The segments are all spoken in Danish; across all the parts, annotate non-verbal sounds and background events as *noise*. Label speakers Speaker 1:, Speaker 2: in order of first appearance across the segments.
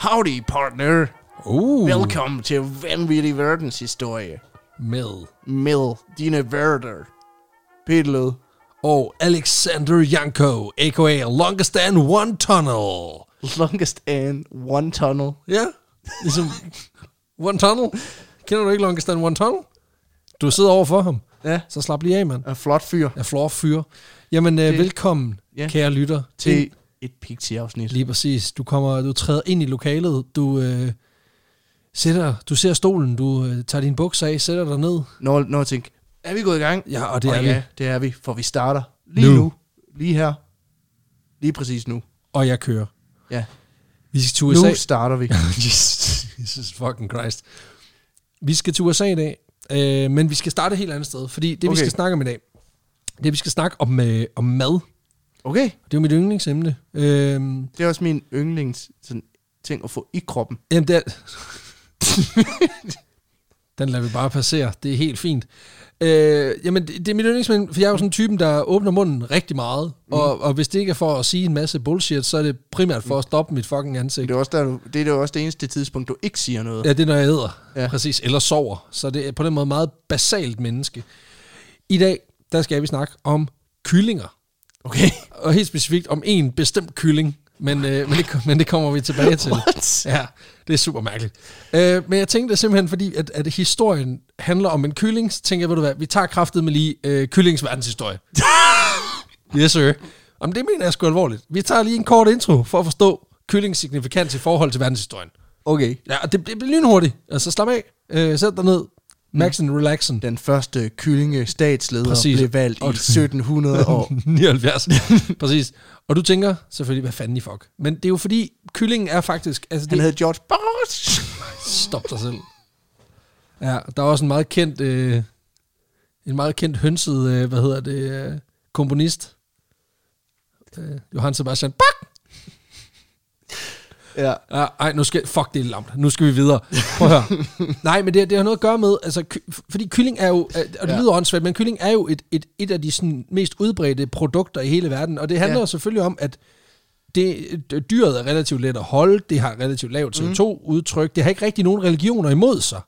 Speaker 1: Howdy, partner.
Speaker 2: Uh,
Speaker 1: Velkommen til Vanvittig Verdens Historie.
Speaker 2: med.
Speaker 1: Med dine værter. Peter Lød.
Speaker 2: Og Alexander Janko, a.k.a. Longest and One Tunnel.
Speaker 1: Longest and One Tunnel.
Speaker 2: Ja, ligesom *laughs* One Tunnel. Kender du ikke Longest and One Tunnel? Du sidder over for ham.
Speaker 1: Ja.
Speaker 2: Så slap lige af, mand.
Speaker 1: En flot fyr.
Speaker 2: Jeg flår fyre. Jamen, det, velkommen,
Speaker 1: ja.
Speaker 2: ja. kære lytter, til
Speaker 1: Til et pixie-afsnit.
Speaker 2: Lige præcis. Du kommer, du træder ind i lokalet, du øh, sætter, du ser stolen, du øh, tager din bukser af, sætter dig ned.
Speaker 1: Når, når jeg tænker, er vi gået i gang?
Speaker 2: Ja, og det er
Speaker 1: ja,
Speaker 2: vi.
Speaker 1: det er vi, for vi starter lige nu.
Speaker 2: Nu.
Speaker 1: nu. Lige her. Lige præcis nu.
Speaker 2: Og jeg kører.
Speaker 1: Ja.
Speaker 2: Vi skal til USA.
Speaker 1: Nu starter vi.
Speaker 2: *laughs* Jesus, Jesus fucking Christ. Vi skal til USA i dag, øh, men vi skal starte et helt andet sted, fordi det, okay.
Speaker 1: Okay.
Speaker 2: vi skal snakke om i dag, det vi skal snakke om, øh, om mad.
Speaker 1: Okay.
Speaker 2: Det er jo mit yndlingsemne. Øh,
Speaker 1: Det er også min yndlings sådan, ting at få i kroppen.
Speaker 2: Jamen, den... *laughs* den lader vi bare passere. Det er helt fint. Øh, jamen, det, det er mit yndlingsmænd, for jeg er jo sådan en typen, der åbner munden rigtig meget. Mm. Og, og hvis det ikke er for at sige en masse bullshit, så er det primært for at stoppe mit fucking ansigt.
Speaker 1: Det er også, der, du- det, er jo også det eneste tidspunkt, du ikke siger noget.
Speaker 2: Ja, det er, når jeg æder.
Speaker 1: Ja.
Speaker 2: Ja. Præcis. Eller sover. Så det er på den måde meget basalt menneske. I dag, der skal vi snakke om kyllinger. *laughs*
Speaker 1: Okay.
Speaker 2: Og helt specifikt om en bestemt kylling. Men, øh, men, det, men det kommer vi tilbage til.
Speaker 1: What?
Speaker 2: Ja, det er super mærkeligt. Øh, men jeg tænkte simpelthen, fordi at, at historien handler om en kylling, så tænkte jeg, ved du hvad, vi tager kraftet med lige øh, kyllings
Speaker 1: *laughs*
Speaker 2: verdenshistorie. yes, sir. Jamen, det mener jeg sgu alvorligt. Vi tager lige en kort intro for at forstå kyllings signifikans i forhold til verdenshistorien.
Speaker 1: Okay.
Speaker 2: Ja, og det, det bliver lynhurtigt. Altså, slap af. Øh, sæt dig ned. Maxen, mm. relaxen.
Speaker 1: Den første kyllinge statsleder Præcis.
Speaker 2: Præcis.
Speaker 1: blev valgt i
Speaker 2: Og- *laughs*
Speaker 1: 1700 *laughs* år.
Speaker 2: 79. *laughs* Præcis. Og du tænker selvfølgelig, hvad fanden i fuck. Men det er jo fordi, kyllingen er faktisk... Altså,
Speaker 1: Han
Speaker 2: det,
Speaker 1: hed George Bosch.
Speaker 2: Stop dig selv. Ja, der er også en meget kendt, øh, en meget kendt hønset, øh, hvad hedder det, øh, komponist. Øh, Johann Sebastian Bach.
Speaker 1: Ja.
Speaker 2: Ja, ej, nu skal, fuck, det er lamt. Nu skal vi videre. Prøv
Speaker 1: *laughs*
Speaker 2: at høre. Nej, men det, det har noget at gøre med, altså, ky, fordi kylling er jo, øh, og det
Speaker 1: Ja.
Speaker 2: ja. lyder åndssvagt, men kylling er jo et, et, et af de sådan, mest udbredte produkter i hele verden, og det handler
Speaker 1: Ja.
Speaker 2: ja. selvfølgelig om, at det, dyret er relativt let at holde, det har relativt lavt
Speaker 1: Mhm.
Speaker 2: CO2-udtryk, det har ikke rigtig nogen religioner imod sig.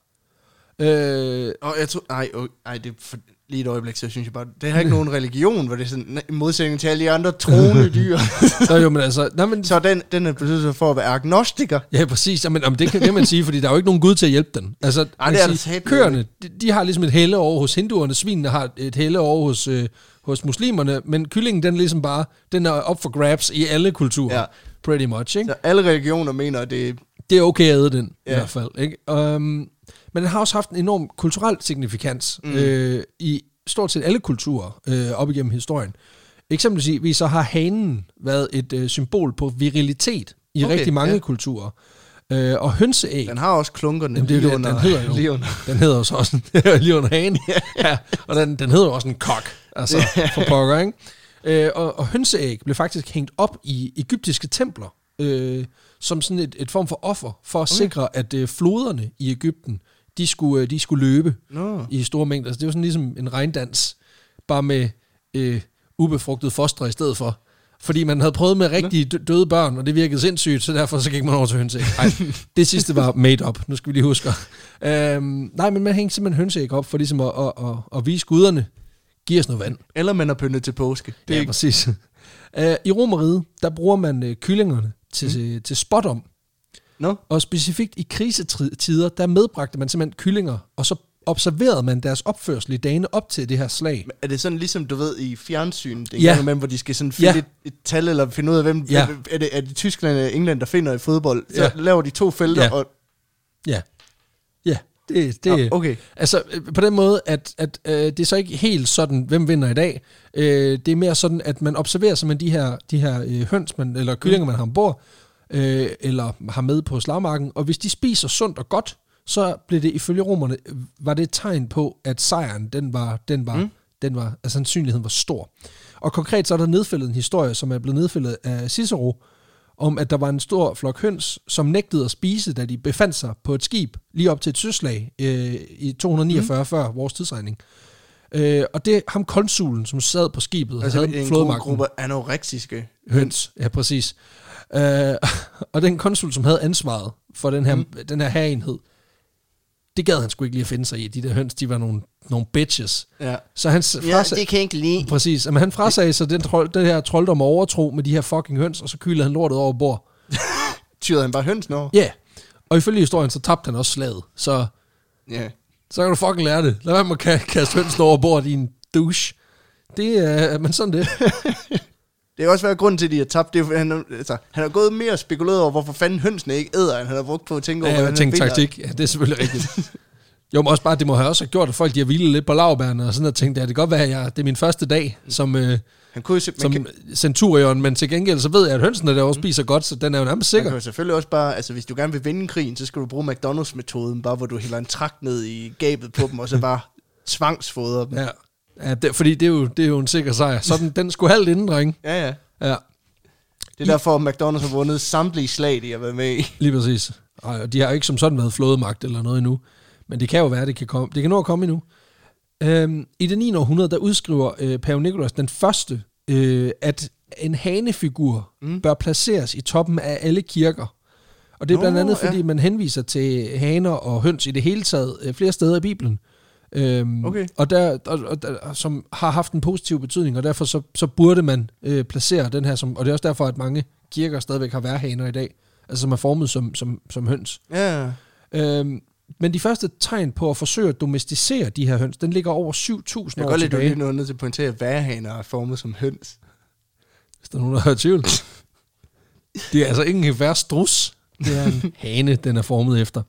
Speaker 2: Øh,
Speaker 1: Og jeg tror, nej, øh, nej, det er for, lige et øjeblik, så synes jeg bare, det har ikke nogen religion, hvor det er sådan i modsætning til alle de andre
Speaker 2: *laughs*
Speaker 1: troende dyr.
Speaker 2: så jo, men altså, nej, men,
Speaker 1: så den, den er besluttet sig for at være agnostiker.
Speaker 2: ja, præcis, jamen, jamen, det kan det kan man sige, fordi der er jo ikke nogen gud til at hjælpe den. Altså, man
Speaker 1: det er
Speaker 2: kan
Speaker 1: der
Speaker 2: sige,
Speaker 1: satme
Speaker 2: køerne, de, de, har ligesom et helle over hos hinduerne, svinene har et helle over hos, øh, hos muslimerne, men kyllingen, den er ligesom bare, den er op for grabs i alle kulturer,
Speaker 1: Ja.
Speaker 2: ja. pretty much, ikke?
Speaker 1: Så alle religioner mener, at det er
Speaker 2: det er okay at æde den,
Speaker 1: Ja.
Speaker 2: ja. i hvert fald. Ikke? Um, men den har også haft en enorm kulturel signifikans mm. øh, i stort set alle kulturer øh, op igennem historien. Eksempelvis så har hanen været et øh, symbol på virilitet i
Speaker 1: Okay,
Speaker 2: okay, rigtig mange
Speaker 1: ja.
Speaker 2: ja. kulturer. Øh, og hønseæg,
Speaker 1: Den har også klunkerne
Speaker 2: Jamen, det er jo
Speaker 1: lige
Speaker 2: det,
Speaker 1: under,
Speaker 2: den hedder jo.
Speaker 1: *laughs* lige under.
Speaker 2: den hedder jo så også en, *laughs* lige under hagen. ja, og den, den hedder jo også en kok, altså for pokker, ikke? Øh, og, og hønseæg blev faktisk hængt op i egyptiske templer, øh, som sådan et, et form for offer, for at okay. sikre, at øh, floderne i Ægypten, de skulle, øh, de skulle løbe
Speaker 1: Nå.
Speaker 2: i store mængder. Så det var sådan ligesom en regndans, bare med øh, ubefrugtet foster i stedet for. Fordi man havde prøvet med rigtige dø- døde børn, og det virkede sindssygt, så derfor så gik man over til hønseæg. Nej, *laughs* det sidste var made up, nu skal vi lige huske. Øhm, nej, men man hængte simpelthen hønseæg op for ligesom at, at, at, at vise guderne, giv os noget vand.
Speaker 1: Eller man er pyntet til påske. Det
Speaker 2: Det
Speaker 1: er
Speaker 2: ja,
Speaker 1: ikke,
Speaker 2: præcis. Øh, I Romeriet, der bruger man øh, kyllingerne til, mm. til, til spådom,
Speaker 1: no?
Speaker 2: og specifikt i krisetider, der medbragte man simpelthen kyllinger, og så observerede man deres opførsel i dagene op til det her slag.
Speaker 1: Er det sådan ligesom, du ved, i fjernsyn, det er
Speaker 2: Ja.
Speaker 1: ja. imellem, hvor de skal sådan finde ja.
Speaker 2: Ja.
Speaker 1: et, et, tal, eller finde ud af, hvem, ja.
Speaker 2: Ja.
Speaker 1: er, det, er det Tyskland eller England, der finder i fodbold? Så ja.
Speaker 2: Ja.
Speaker 1: laver de to felter, ja.
Speaker 2: Ja.
Speaker 1: og
Speaker 2: Ja. Ja, det, det,
Speaker 1: Nå, okay.
Speaker 2: Altså, øh, på den måde, at, at øh, det er så ikke helt sådan, hvem vinder i dag. Øh, det er mere sådan, at man observerer simpelthen de her, de her øh, høns, man, eller kyllinger, man har ombord, øh, eller har med på slagmarken, og hvis de spiser sundt og godt, så blev det ifølge romerne, øh, var det et tegn på, at sejren, den var, den var, mm. den var, altså sandsynligheden var stor. Og konkret så er der nedfældet en historie, som er blevet nedfældet af Cicero, om at der var en stor flok høns, som nægtede at spise, da de befandt
Speaker 1: Mhm.
Speaker 2: sig på et skib lige op til et søslag øh, i 249 mm. før vores tidsregning. Øh, og det er ham konsulen, som sad på skibet,
Speaker 1: Altså
Speaker 2: altså, havde
Speaker 1: en
Speaker 2: flådemagten.
Speaker 1: god gruppe anoreksiske
Speaker 2: Høns, ja præcis. Øh, *laughs* og den konsul, som havde ansvaret for den her, mm.
Speaker 1: Mhm.
Speaker 2: den her herenhed, det gad han sgu ikke lige at finde sig i. De der høns, de var nogle, nogle bitches.
Speaker 1: Ja.
Speaker 2: Så han s- frasag,
Speaker 1: kan jeg ikke lide.
Speaker 2: præcis, men han frasagde sig den, trold, den her trolddom og overtro med de her fucking høns, og så kylede han lortet over bord.
Speaker 1: Tyrede han bare hønsen over?
Speaker 2: Ja, yeah. og ifølge historien, så tabte han også slaget. Så,
Speaker 1: Ja.
Speaker 2: så kan du fucking lære det. Lad være med at ka- kaste hønsen over bord i en douche. Det er, men sådan det.
Speaker 1: Det kan også være grunden til, at de har tabt. Det er, jo, fordi han, altså, han har gået mere og spekuleret over, hvorfor fanden hønsene ikke æder, end han har brugt på at tænke over,
Speaker 2: Ja,
Speaker 1: hvordan
Speaker 2: jeg tænkte
Speaker 1: han
Speaker 2: taktik. Ja, det er selvfølgelig rigtigt. Jo, men også bare, det må have også have gjort, at folk de har hvilet lidt på lavbærne og sådan noget, tænkte, ja, det kan godt være, at jeg, det er min første dag som, øh,
Speaker 1: Han kunne jo se,
Speaker 2: som
Speaker 1: man, kan,
Speaker 2: centurion, men til gengæld så ved jeg, at hønsene derovre spiser godt, så den er jo nærmest
Speaker 1: man kan
Speaker 2: sikker.
Speaker 1: jo selvfølgelig også bare, altså hvis du gerne vil vinde krigen, så skal du bruge McDonald's-metoden, bare hvor du hælder en trakt ned i gabet på dem, og så bare tvangsfoder dem. Ja,
Speaker 2: Ja, ja det, fordi det er, jo, det er jo en sikker sejr. Sådan, den skulle halvt inden, drenge.
Speaker 1: ja. ja.
Speaker 2: Ja,
Speaker 1: Det er derfor, at McDonald's har vundet samtlige slag, de har været med i.
Speaker 2: lige præcis. Ej, og de har jo ikke som sådan været flådemagt eller noget endnu, men det kan jo være, det kan, komme, det kan nå at komme endnu. Øhm, I det 9. århundrede, der udskriver øh, Pave Nikolas den første, øh, at en hanefigur mm. bør placeres i toppen af alle kirker. Og det er
Speaker 1: Nå,
Speaker 2: blandt andet,
Speaker 1: ja.
Speaker 2: fordi man henviser til haner og høns i det hele taget øh, flere steder i Bibelen. Øhm,
Speaker 1: Okay.
Speaker 2: og der, og, og, der, som har haft en positiv betydning, og derfor så, så burde man øh, placere den her, som, og det er også derfor, at mange kirker stadigvæk har værhaner i dag, altså som er formet som, som, som høns.
Speaker 1: Ja.
Speaker 2: Øhm, men de første tegn på at forsøge at domesticere de her høns, den ligger over 7.000
Speaker 1: Jeg
Speaker 2: år
Speaker 1: kan godt lide, at du
Speaker 2: tilbage.
Speaker 1: lige nu er nødt til at pointere, at værhaner er formet som høns.
Speaker 2: Hvis der er nogen, der har tvivl. Det er altså ikke en værre strus. Det er
Speaker 1: *laughs*
Speaker 2: en hane, den er formet efter.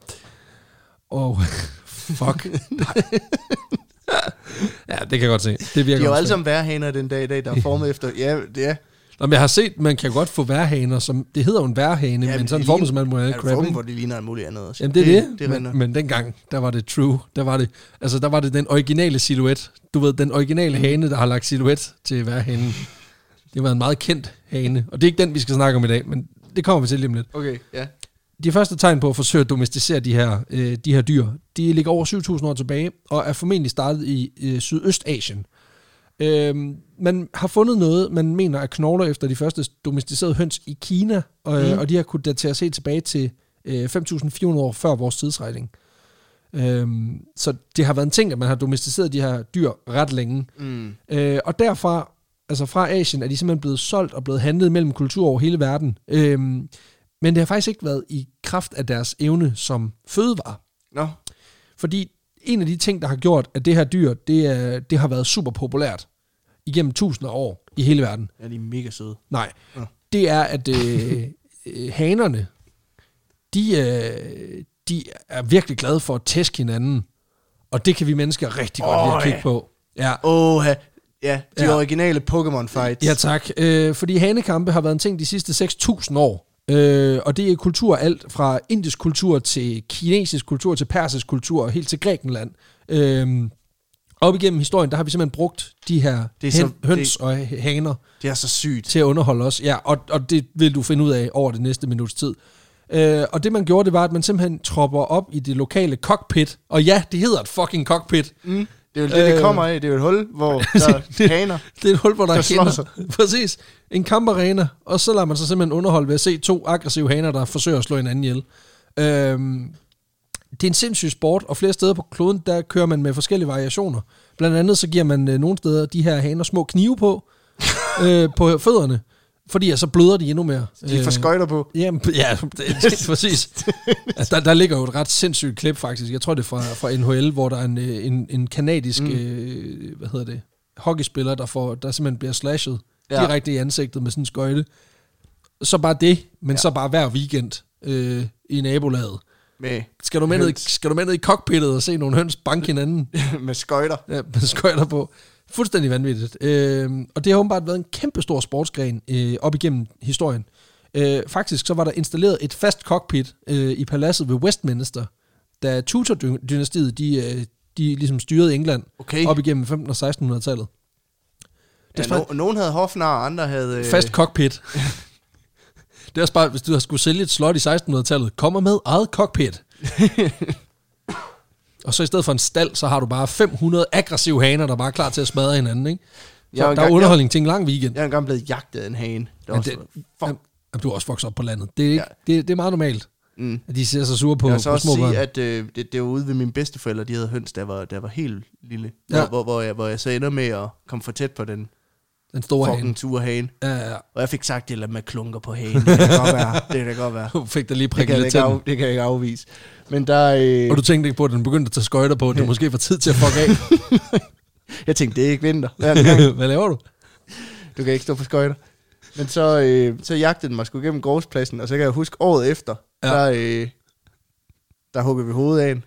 Speaker 2: Og *laughs*
Speaker 1: *laughs*
Speaker 2: fuck. Nej. Ja, det kan jeg godt se. Det virker
Speaker 1: De er jo
Speaker 2: også
Speaker 1: alle sammen værhaner den dag i dag, der er
Speaker 2: *laughs*
Speaker 1: formet efter... Ja, det er.
Speaker 2: svært. Nå, men jeg har set, man kan godt få værhaner, som, det hedder jo en værhane,
Speaker 1: Ja,
Speaker 2: ja, men
Speaker 1: men
Speaker 2: sådan
Speaker 1: det ligner-
Speaker 2: formet som man må
Speaker 1: Er
Speaker 2: have
Speaker 1: det
Speaker 2: crab,
Speaker 1: formet,
Speaker 2: ikke?
Speaker 1: hvor det ligner alt muligt andet også?
Speaker 2: Jamen det er det,
Speaker 1: Det, det rinder.
Speaker 2: men, men dengang, der var det true. Der var det, altså, der var det den originale silhuet. Du ved, den originale
Speaker 1: Mm.
Speaker 2: hane, der har lagt silhuet til hver hane. Det var en meget kendt hane, og det er ikke den, vi skal snakke om i dag, men det kommer vi til lige om lidt.
Speaker 1: Okay, ja.
Speaker 2: De første tegn på at forsøge at domesticere de her, øh, de her dyr, de ligger over 7.000 år tilbage, og er formentlig startet i øh, Sydøstasien. Øhm, man har fundet noget, man mener er knogler efter de første domesticerede høns i Kina, og, mm.
Speaker 1: Mm.
Speaker 2: og de har kunnet dateres helt tilbage til øh, 5.400 år før vores tidsregning. Øhm, så det har været en ting, at man har domesticeret de her dyr ret længe.
Speaker 1: Mm.
Speaker 2: Øh, og derfra, altså fra Asien, er de simpelthen blevet solgt og blevet handlet mellem kulturer over hele verden. Øhm, men det har faktisk ikke været i kraft af deres evne som fødevare.
Speaker 1: Nå,
Speaker 2: Fordi en af de ting, der har gjort, at det her dyr, det, er, det har været super populært igennem tusinder af år i hele verden.
Speaker 1: ja, de er mega søde.
Speaker 2: Nej,
Speaker 1: Nå.
Speaker 2: det er, at øh, øh, hanerne, de, øh, de er virkelig glade for at tæske hinanden. Og det kan vi mennesker rigtig godt lide
Speaker 1: Åh,
Speaker 2: at kigge
Speaker 1: ja.
Speaker 2: på. Ja.
Speaker 1: Åh, ja. ja, de
Speaker 2: Ja.
Speaker 1: ja. originale Pokémon-fights.
Speaker 2: Ja tak, øh, fordi hanekampe har været en ting de sidste 6.000 år, øh, og det er kultur alt fra indisk kultur til kinesisk kultur til persisk kultur og helt til Grækenland. Øh, op igennem historien, der har vi simpelthen brugt de her
Speaker 1: Det er
Speaker 2: hen,
Speaker 1: så-
Speaker 2: så, høns det... og haner
Speaker 1: Det er så sygt.
Speaker 2: til at underholde os. Ja, og, og det vil du finde ud af over det næste minuts tid. Øh, og det man gjorde, det var, at man simpelthen tropper op i det lokale cockpit. Og ja, det hedder et fucking cockpit.
Speaker 1: Mm. Det er jo det,
Speaker 2: Øh.
Speaker 1: det kommer af. Det er jo et hul,
Speaker 2: *laughs*
Speaker 1: hvor der er haner.
Speaker 2: Det er et hul, hvor der,
Speaker 1: Der
Speaker 2: er
Speaker 1: slår
Speaker 2: hænder. *laughs* Præcis. En kamparena, og så lader man sig simpelthen underholde ved at se to aggressive haner, der forsøger at slå hinanden ihjel. Øhm, det er en sindssyg sport, og flere steder på kloden, der kører man med forskellige variationer. Blandt andet så giver man øh, nogle steder de her haner små knive
Speaker 1: *laughs*
Speaker 2: på, øh, på fødderne, fordi så bløder de endnu mere.
Speaker 1: De får skøjter på.
Speaker 2: Jamen, ja, *laughs* det, det, præcis. Altså, der, der ligger jo et ret sindssygt klip, faktisk. Jeg tror, det er fra, fra NHL, hvor der er en, øh, en, en kanadisk, mm. øh, hvad hedder det, hockeyspiller, der, får, der simpelthen bliver slashet ja.
Speaker 1: Ja.
Speaker 2: direkte i ansigtet med sådan en skøjte. Så bare det, men ja. så bare hver weekend øh, i nabolaget.
Speaker 1: Med, *laughs*
Speaker 2: Skal du, med ned, i-
Speaker 1: Høns.
Speaker 2: skal du med ned i cockpittet og se nogle høns banke hinanden?
Speaker 1: med skøjter.
Speaker 2: Ja, med skøjter på. Fuldstændig vanvittigt. Øh, og det har åbenbart været en kæmpe stor sportsgren øh, op igennem historien. Øh, faktisk så var der installeret et fast cockpit øh, i paladset ved Westminster, da Tudor-dynastiet de, øh, de ligesom styrede England
Speaker 1: Okay.
Speaker 2: op igennem 1500- og 1600-tallet.
Speaker 1: Ja,
Speaker 2: Det er
Speaker 1: no, nogen havde hofnar, og andre havde... øh,
Speaker 2: Fast cockpit. det er også
Speaker 1: *laughs*
Speaker 2: bare, hvis du har skulle sælge et slot i 1600-tallet, kommer med eget cockpit. Og så i stedet for en stald, så har du bare 500 aggressive haner, der bare er klar til at smadre hinanden, ikke? Så
Speaker 1: Jeg er
Speaker 2: der er
Speaker 1: engang-
Speaker 2: underholdning til en lang weekend.
Speaker 1: Jeg er engang blevet jagtet af en hane. Det var
Speaker 2: Men
Speaker 1: også,
Speaker 2: det,
Speaker 1: fuck.
Speaker 2: Jamen, du er også vokset op på landet. Det er, ikke, det, det er meget normalt,
Speaker 1: Mm.
Speaker 2: at de ser så sure på,
Speaker 1: Jeg
Speaker 2: på
Speaker 1: vil så
Speaker 2: små
Speaker 1: også sige,
Speaker 2: børn.
Speaker 1: at øh, det, det var ude ved mine bedsteforældre, de havde høns, der var, der var helt lille.
Speaker 2: Ja.
Speaker 1: Ja. Hvor, hvor, hvor, jeg, hvor jeg så ender med at komme for tæt på den
Speaker 2: Den store hane.
Speaker 1: fucking turhane.
Speaker 2: Ja, ja, ja.
Speaker 1: Og jeg fik sagt, det er med klunker på hagen. Det kan godt være. Det kan godt
Speaker 2: *laughs*
Speaker 1: være.
Speaker 2: Du fik der lige
Speaker 1: Det kan,
Speaker 2: prikket
Speaker 1: jeg
Speaker 2: lidt
Speaker 1: ikke
Speaker 2: til den.
Speaker 1: af, det kan jeg ikke afvise. Men der... Øh,
Speaker 2: Og du tænkte ikke på, at den begyndte at tage skøjter på, at
Speaker 1: *laughs*
Speaker 2: det måske var tid til at fuck *laughs* af.
Speaker 1: Jeg tænkte, det er ikke
Speaker 2: *laughs*
Speaker 1: vinter. Hver gang.
Speaker 2: Hvad laver du?
Speaker 1: Du kan ikke stå på skøjter. Men så, øh, så jagtede den mig sgu gennem gårdspladsen, og så kan jeg huske året efter,
Speaker 2: Ja.
Speaker 1: ja. der, øh, der huggede vi hovedet
Speaker 2: *laughs*
Speaker 1: af en.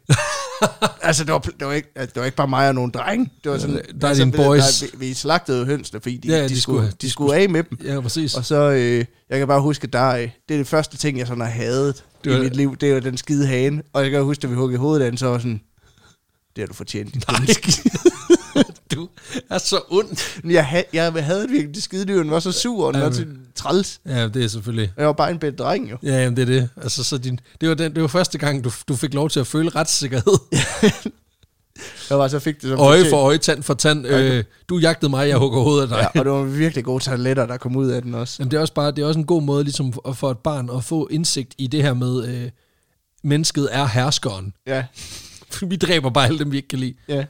Speaker 1: altså, det var, pl- det, var ikke, altså, det var ikke bare mig og nogle drenge. Det var sådan,
Speaker 2: Ja, der er
Speaker 1: altså,
Speaker 2: dine
Speaker 1: vi-
Speaker 2: boys.
Speaker 1: Der, vi, vi slagtede jo hønsene, fordi de,
Speaker 2: Ja,
Speaker 1: ja, de, de, skulle, de skulle af med dem.
Speaker 2: Ja, præcis.
Speaker 1: Og så, øh, jeg kan bare huske, der, øh, det er det første ting, jeg sådan har hadet
Speaker 2: Det
Speaker 1: det
Speaker 2: var-
Speaker 1: i mit liv, det var den skide hane. Og jeg kan huske, da vi huggede hovedet af den, så var jeg sådan, det har du fortjent. din dumme
Speaker 2: *laughs* du er så ond.
Speaker 1: Men Jeg, ha- jeg havde virkelig det skidedyr, den var så sur, og den
Speaker 2: Ja,
Speaker 1: var
Speaker 2: men-
Speaker 1: til træls.
Speaker 2: Ja, det er selvfølgelig.
Speaker 1: Og Jeg var bare en bedre dreng, jo.
Speaker 2: Ja, jamen, det er det. Altså, så din, det, var den, det var første gang, du, du fik lov til at føle retssikkerhed. *laughs*
Speaker 1: Jeg var så fik det som
Speaker 2: Øje
Speaker 1: fortjent.
Speaker 2: for øje, tand for tand. Øh, du jagtede mig, jeg hugger hovedet af dig.
Speaker 1: Ja, og det var virkelig gode toiletter, der kom ud af den også.
Speaker 2: *laughs* Jamen, det er også bare det er også en god måde ligesom for- for et barn at få indsigt i det her med øh, mennesket er herskeren. *laughs*
Speaker 1: Ja,
Speaker 2: Vi dræber bare alle dem vi ikke kan lide.
Speaker 1: ja.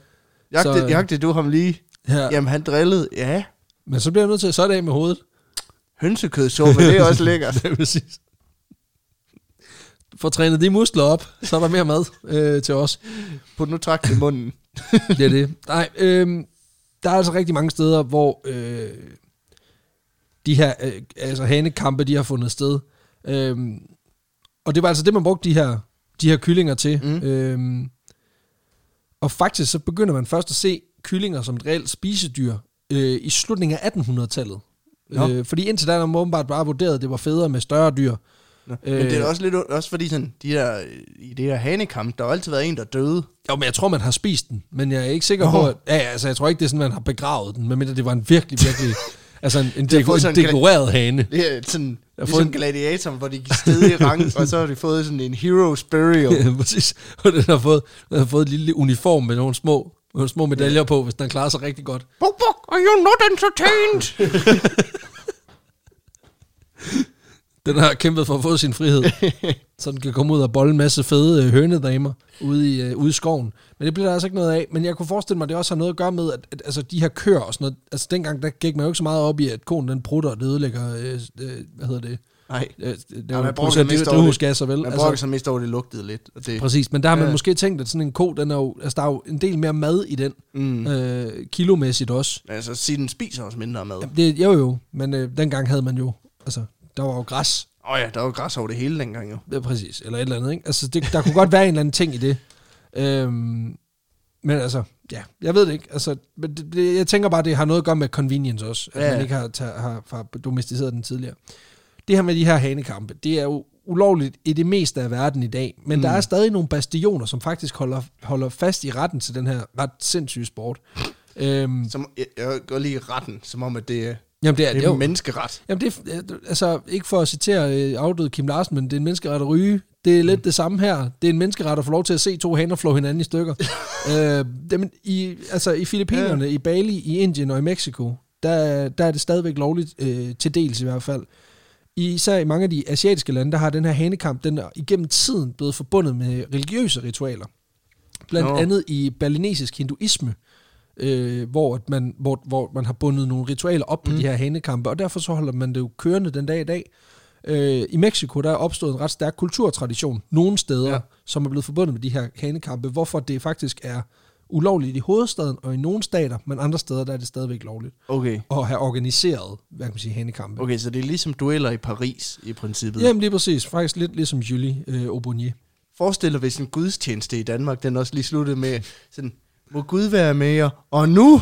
Speaker 1: Jagte,
Speaker 2: Så-
Speaker 1: så... jagte du ham lige?
Speaker 2: Ja.
Speaker 1: Jamen, han drillede. Ja,
Speaker 2: Men så bliver jeg nødt til at så er det af med hovedet. *laughs*
Speaker 1: hønsekød så, men det er også lækkert.
Speaker 2: det er præcis. Få trænet de muskler op, så er der mere mad øh, til os.
Speaker 1: Put nu trakt i munden.
Speaker 2: Det er det. Nej, øh, der er altså rigtig mange steder, hvor øh, de her øh, altså hanekampe, de har fundet sted. Øh, og det var altså det, man brugte de her, de her kyllinger til. Mm.
Speaker 1: Mm.
Speaker 2: Øh, og faktisk så begynder man først at se kyllinger som et reelt spisedyr øh, i slutningen af 1800-tallet.
Speaker 1: Nå.
Speaker 2: Øh, fordi indtil da har man åbenbart bare vurderet, at det var federe med større dyr.
Speaker 1: Nå. Men det er
Speaker 2: Øh.
Speaker 1: også lidt ondt, også fordi sådan, de der, i det der hanekamp, der har altid været en, der døde.
Speaker 2: Jo, men jeg tror, man har spist den, men jeg er ikke sikker på,
Speaker 1: Nå.
Speaker 2: at... Ja, ja, altså, jeg tror ikke, det er sådan, man har begravet den, medmindre det var en virkelig,
Speaker 1: *laughs*
Speaker 2: virkelig... altså, en, en,
Speaker 1: har fået
Speaker 2: deko- en
Speaker 1: sådan en-
Speaker 2: dekoreret hane. *laughs*
Speaker 1: Det er sådan,
Speaker 2: har
Speaker 1: ligesom
Speaker 2: fået en-
Speaker 1: en... gladiator, hvor de gik sted i
Speaker 2: *laughs*
Speaker 1: rang, og så har de fået sådan en hero's burial.
Speaker 2: Ja, præcis. Og den har fået, den har fået en lille uniform med nogle små, nogle små medaljer på, hvis den klarer sig rigtig godt.
Speaker 1: Buk, buk, are you not entertained?
Speaker 2: Den har kæmpet for at få sin
Speaker 1: *laughs*
Speaker 2: frihed, så den kan komme ud og bolle en masse fede øh, hønedamer ude i, øh, ude i skoven. Men det bliver der altså ikke noget af. Men jeg kunne forestille mig, at det også har noget at gøre med, at, at altså, de her køer og sådan noget... Altså, dengang der gik man jo ikke så meget op i, at konen den prutter og det ødelægger... Øh, øh, hvad hedder det?
Speaker 1: Nej.
Speaker 2: Øh, det er
Speaker 1: Ja,
Speaker 2: jo
Speaker 1: man
Speaker 2: en
Speaker 1: brokker
Speaker 2: producent
Speaker 1: mest
Speaker 2: af
Speaker 1: over det.
Speaker 2: drivhusgasser, vel?
Speaker 1: Man altså... brokker
Speaker 2: altså,
Speaker 1: sig mest over, at det lugtede lidt. Og det...
Speaker 2: præcis, men der har man
Speaker 1: Ja.
Speaker 2: måske tænkt, at sådan en ko, den er jo, altså, der er jo en del mere mad i den,
Speaker 1: Mm.
Speaker 2: øh, kilomæssigt også.
Speaker 1: Altså, sige, den spiser også mindre mad. Åh
Speaker 2: Jamen, Det, jo jo, men øh, dengang havde man jo, altså, der var jo græs,
Speaker 1: oh, ja, der var jo græs over det hele dengang jo.
Speaker 2: ja, præcis, eller et eller andet, ikke? Altså, det, der kunne godt være en eller anden ting i det. Øhm, men altså, ja, jeg ved det ikke. Altså, men det, det, jeg tænker bare, det har noget at gøre med convenience også, at
Speaker 1: Ja,
Speaker 2: man
Speaker 1: ja.
Speaker 2: ikke har, tager, har, har domesticeret den tidligere. Det her med de her hanekampe, det er jo ulovligt i det meste af verden i dag, men mm. der er stadig nogle bastioner, som faktisk holder, holder fast i retten til den her ret sindssyge sport. Øhm,
Speaker 1: Som, jeg, jeg går lige i retten, som om, at det, er-
Speaker 2: jamen, det er,
Speaker 1: det er
Speaker 2: jo-
Speaker 1: en menneskeret.
Speaker 2: Jamen det er, øh, altså ikke for at citere øh, afdøde Kim Larsen, men det er en menneskeret at ryge. Det er lidt det samme her. Det er en menneskeret at få lov til at se to haner flå hinanden i stykker. øh, jamen, i, altså i Filippinerne, i Bali, i Indien og i Mexico, der, der er det stadigvæk lovligt, øh, til dels i hvert fald. Især i mange af de asiatiske lande, der har den her hanekamp, den er igennem tiden blevet forbundet med religiøse ritualer. Blandt
Speaker 1: Nå.
Speaker 2: no. andet i balinesisk hinduisme, øh, hvor, at man, hvor, hvor man har bundet nogle ritualer op på mm. de her hanekampe, og derfor så holder man det jo kørende den dag i dag. Øh, I Mexico der er opstået en ret stærk kulturtradition nogle steder, ja.
Speaker 1: Ja.
Speaker 2: som er blevet forbundet med de her hanekampe, hvorfor det faktisk er ulovligt i hovedstaden og i nogle stater, men andre steder der er det stadigvæk lovligt
Speaker 1: Okay.
Speaker 2: at have organiseret, hvad kan man sige, hanekampe.
Speaker 1: Okay, så det er ligesom dueller i Paris, i princippet.
Speaker 2: Jamen lige præcis, faktisk lidt ligesom Julie øh, Aubonier.
Speaker 1: Forestil dig, hvis en gudstjeneste i Danmark, den også lige sluttede med sådan, må Gud være med jer, og nu,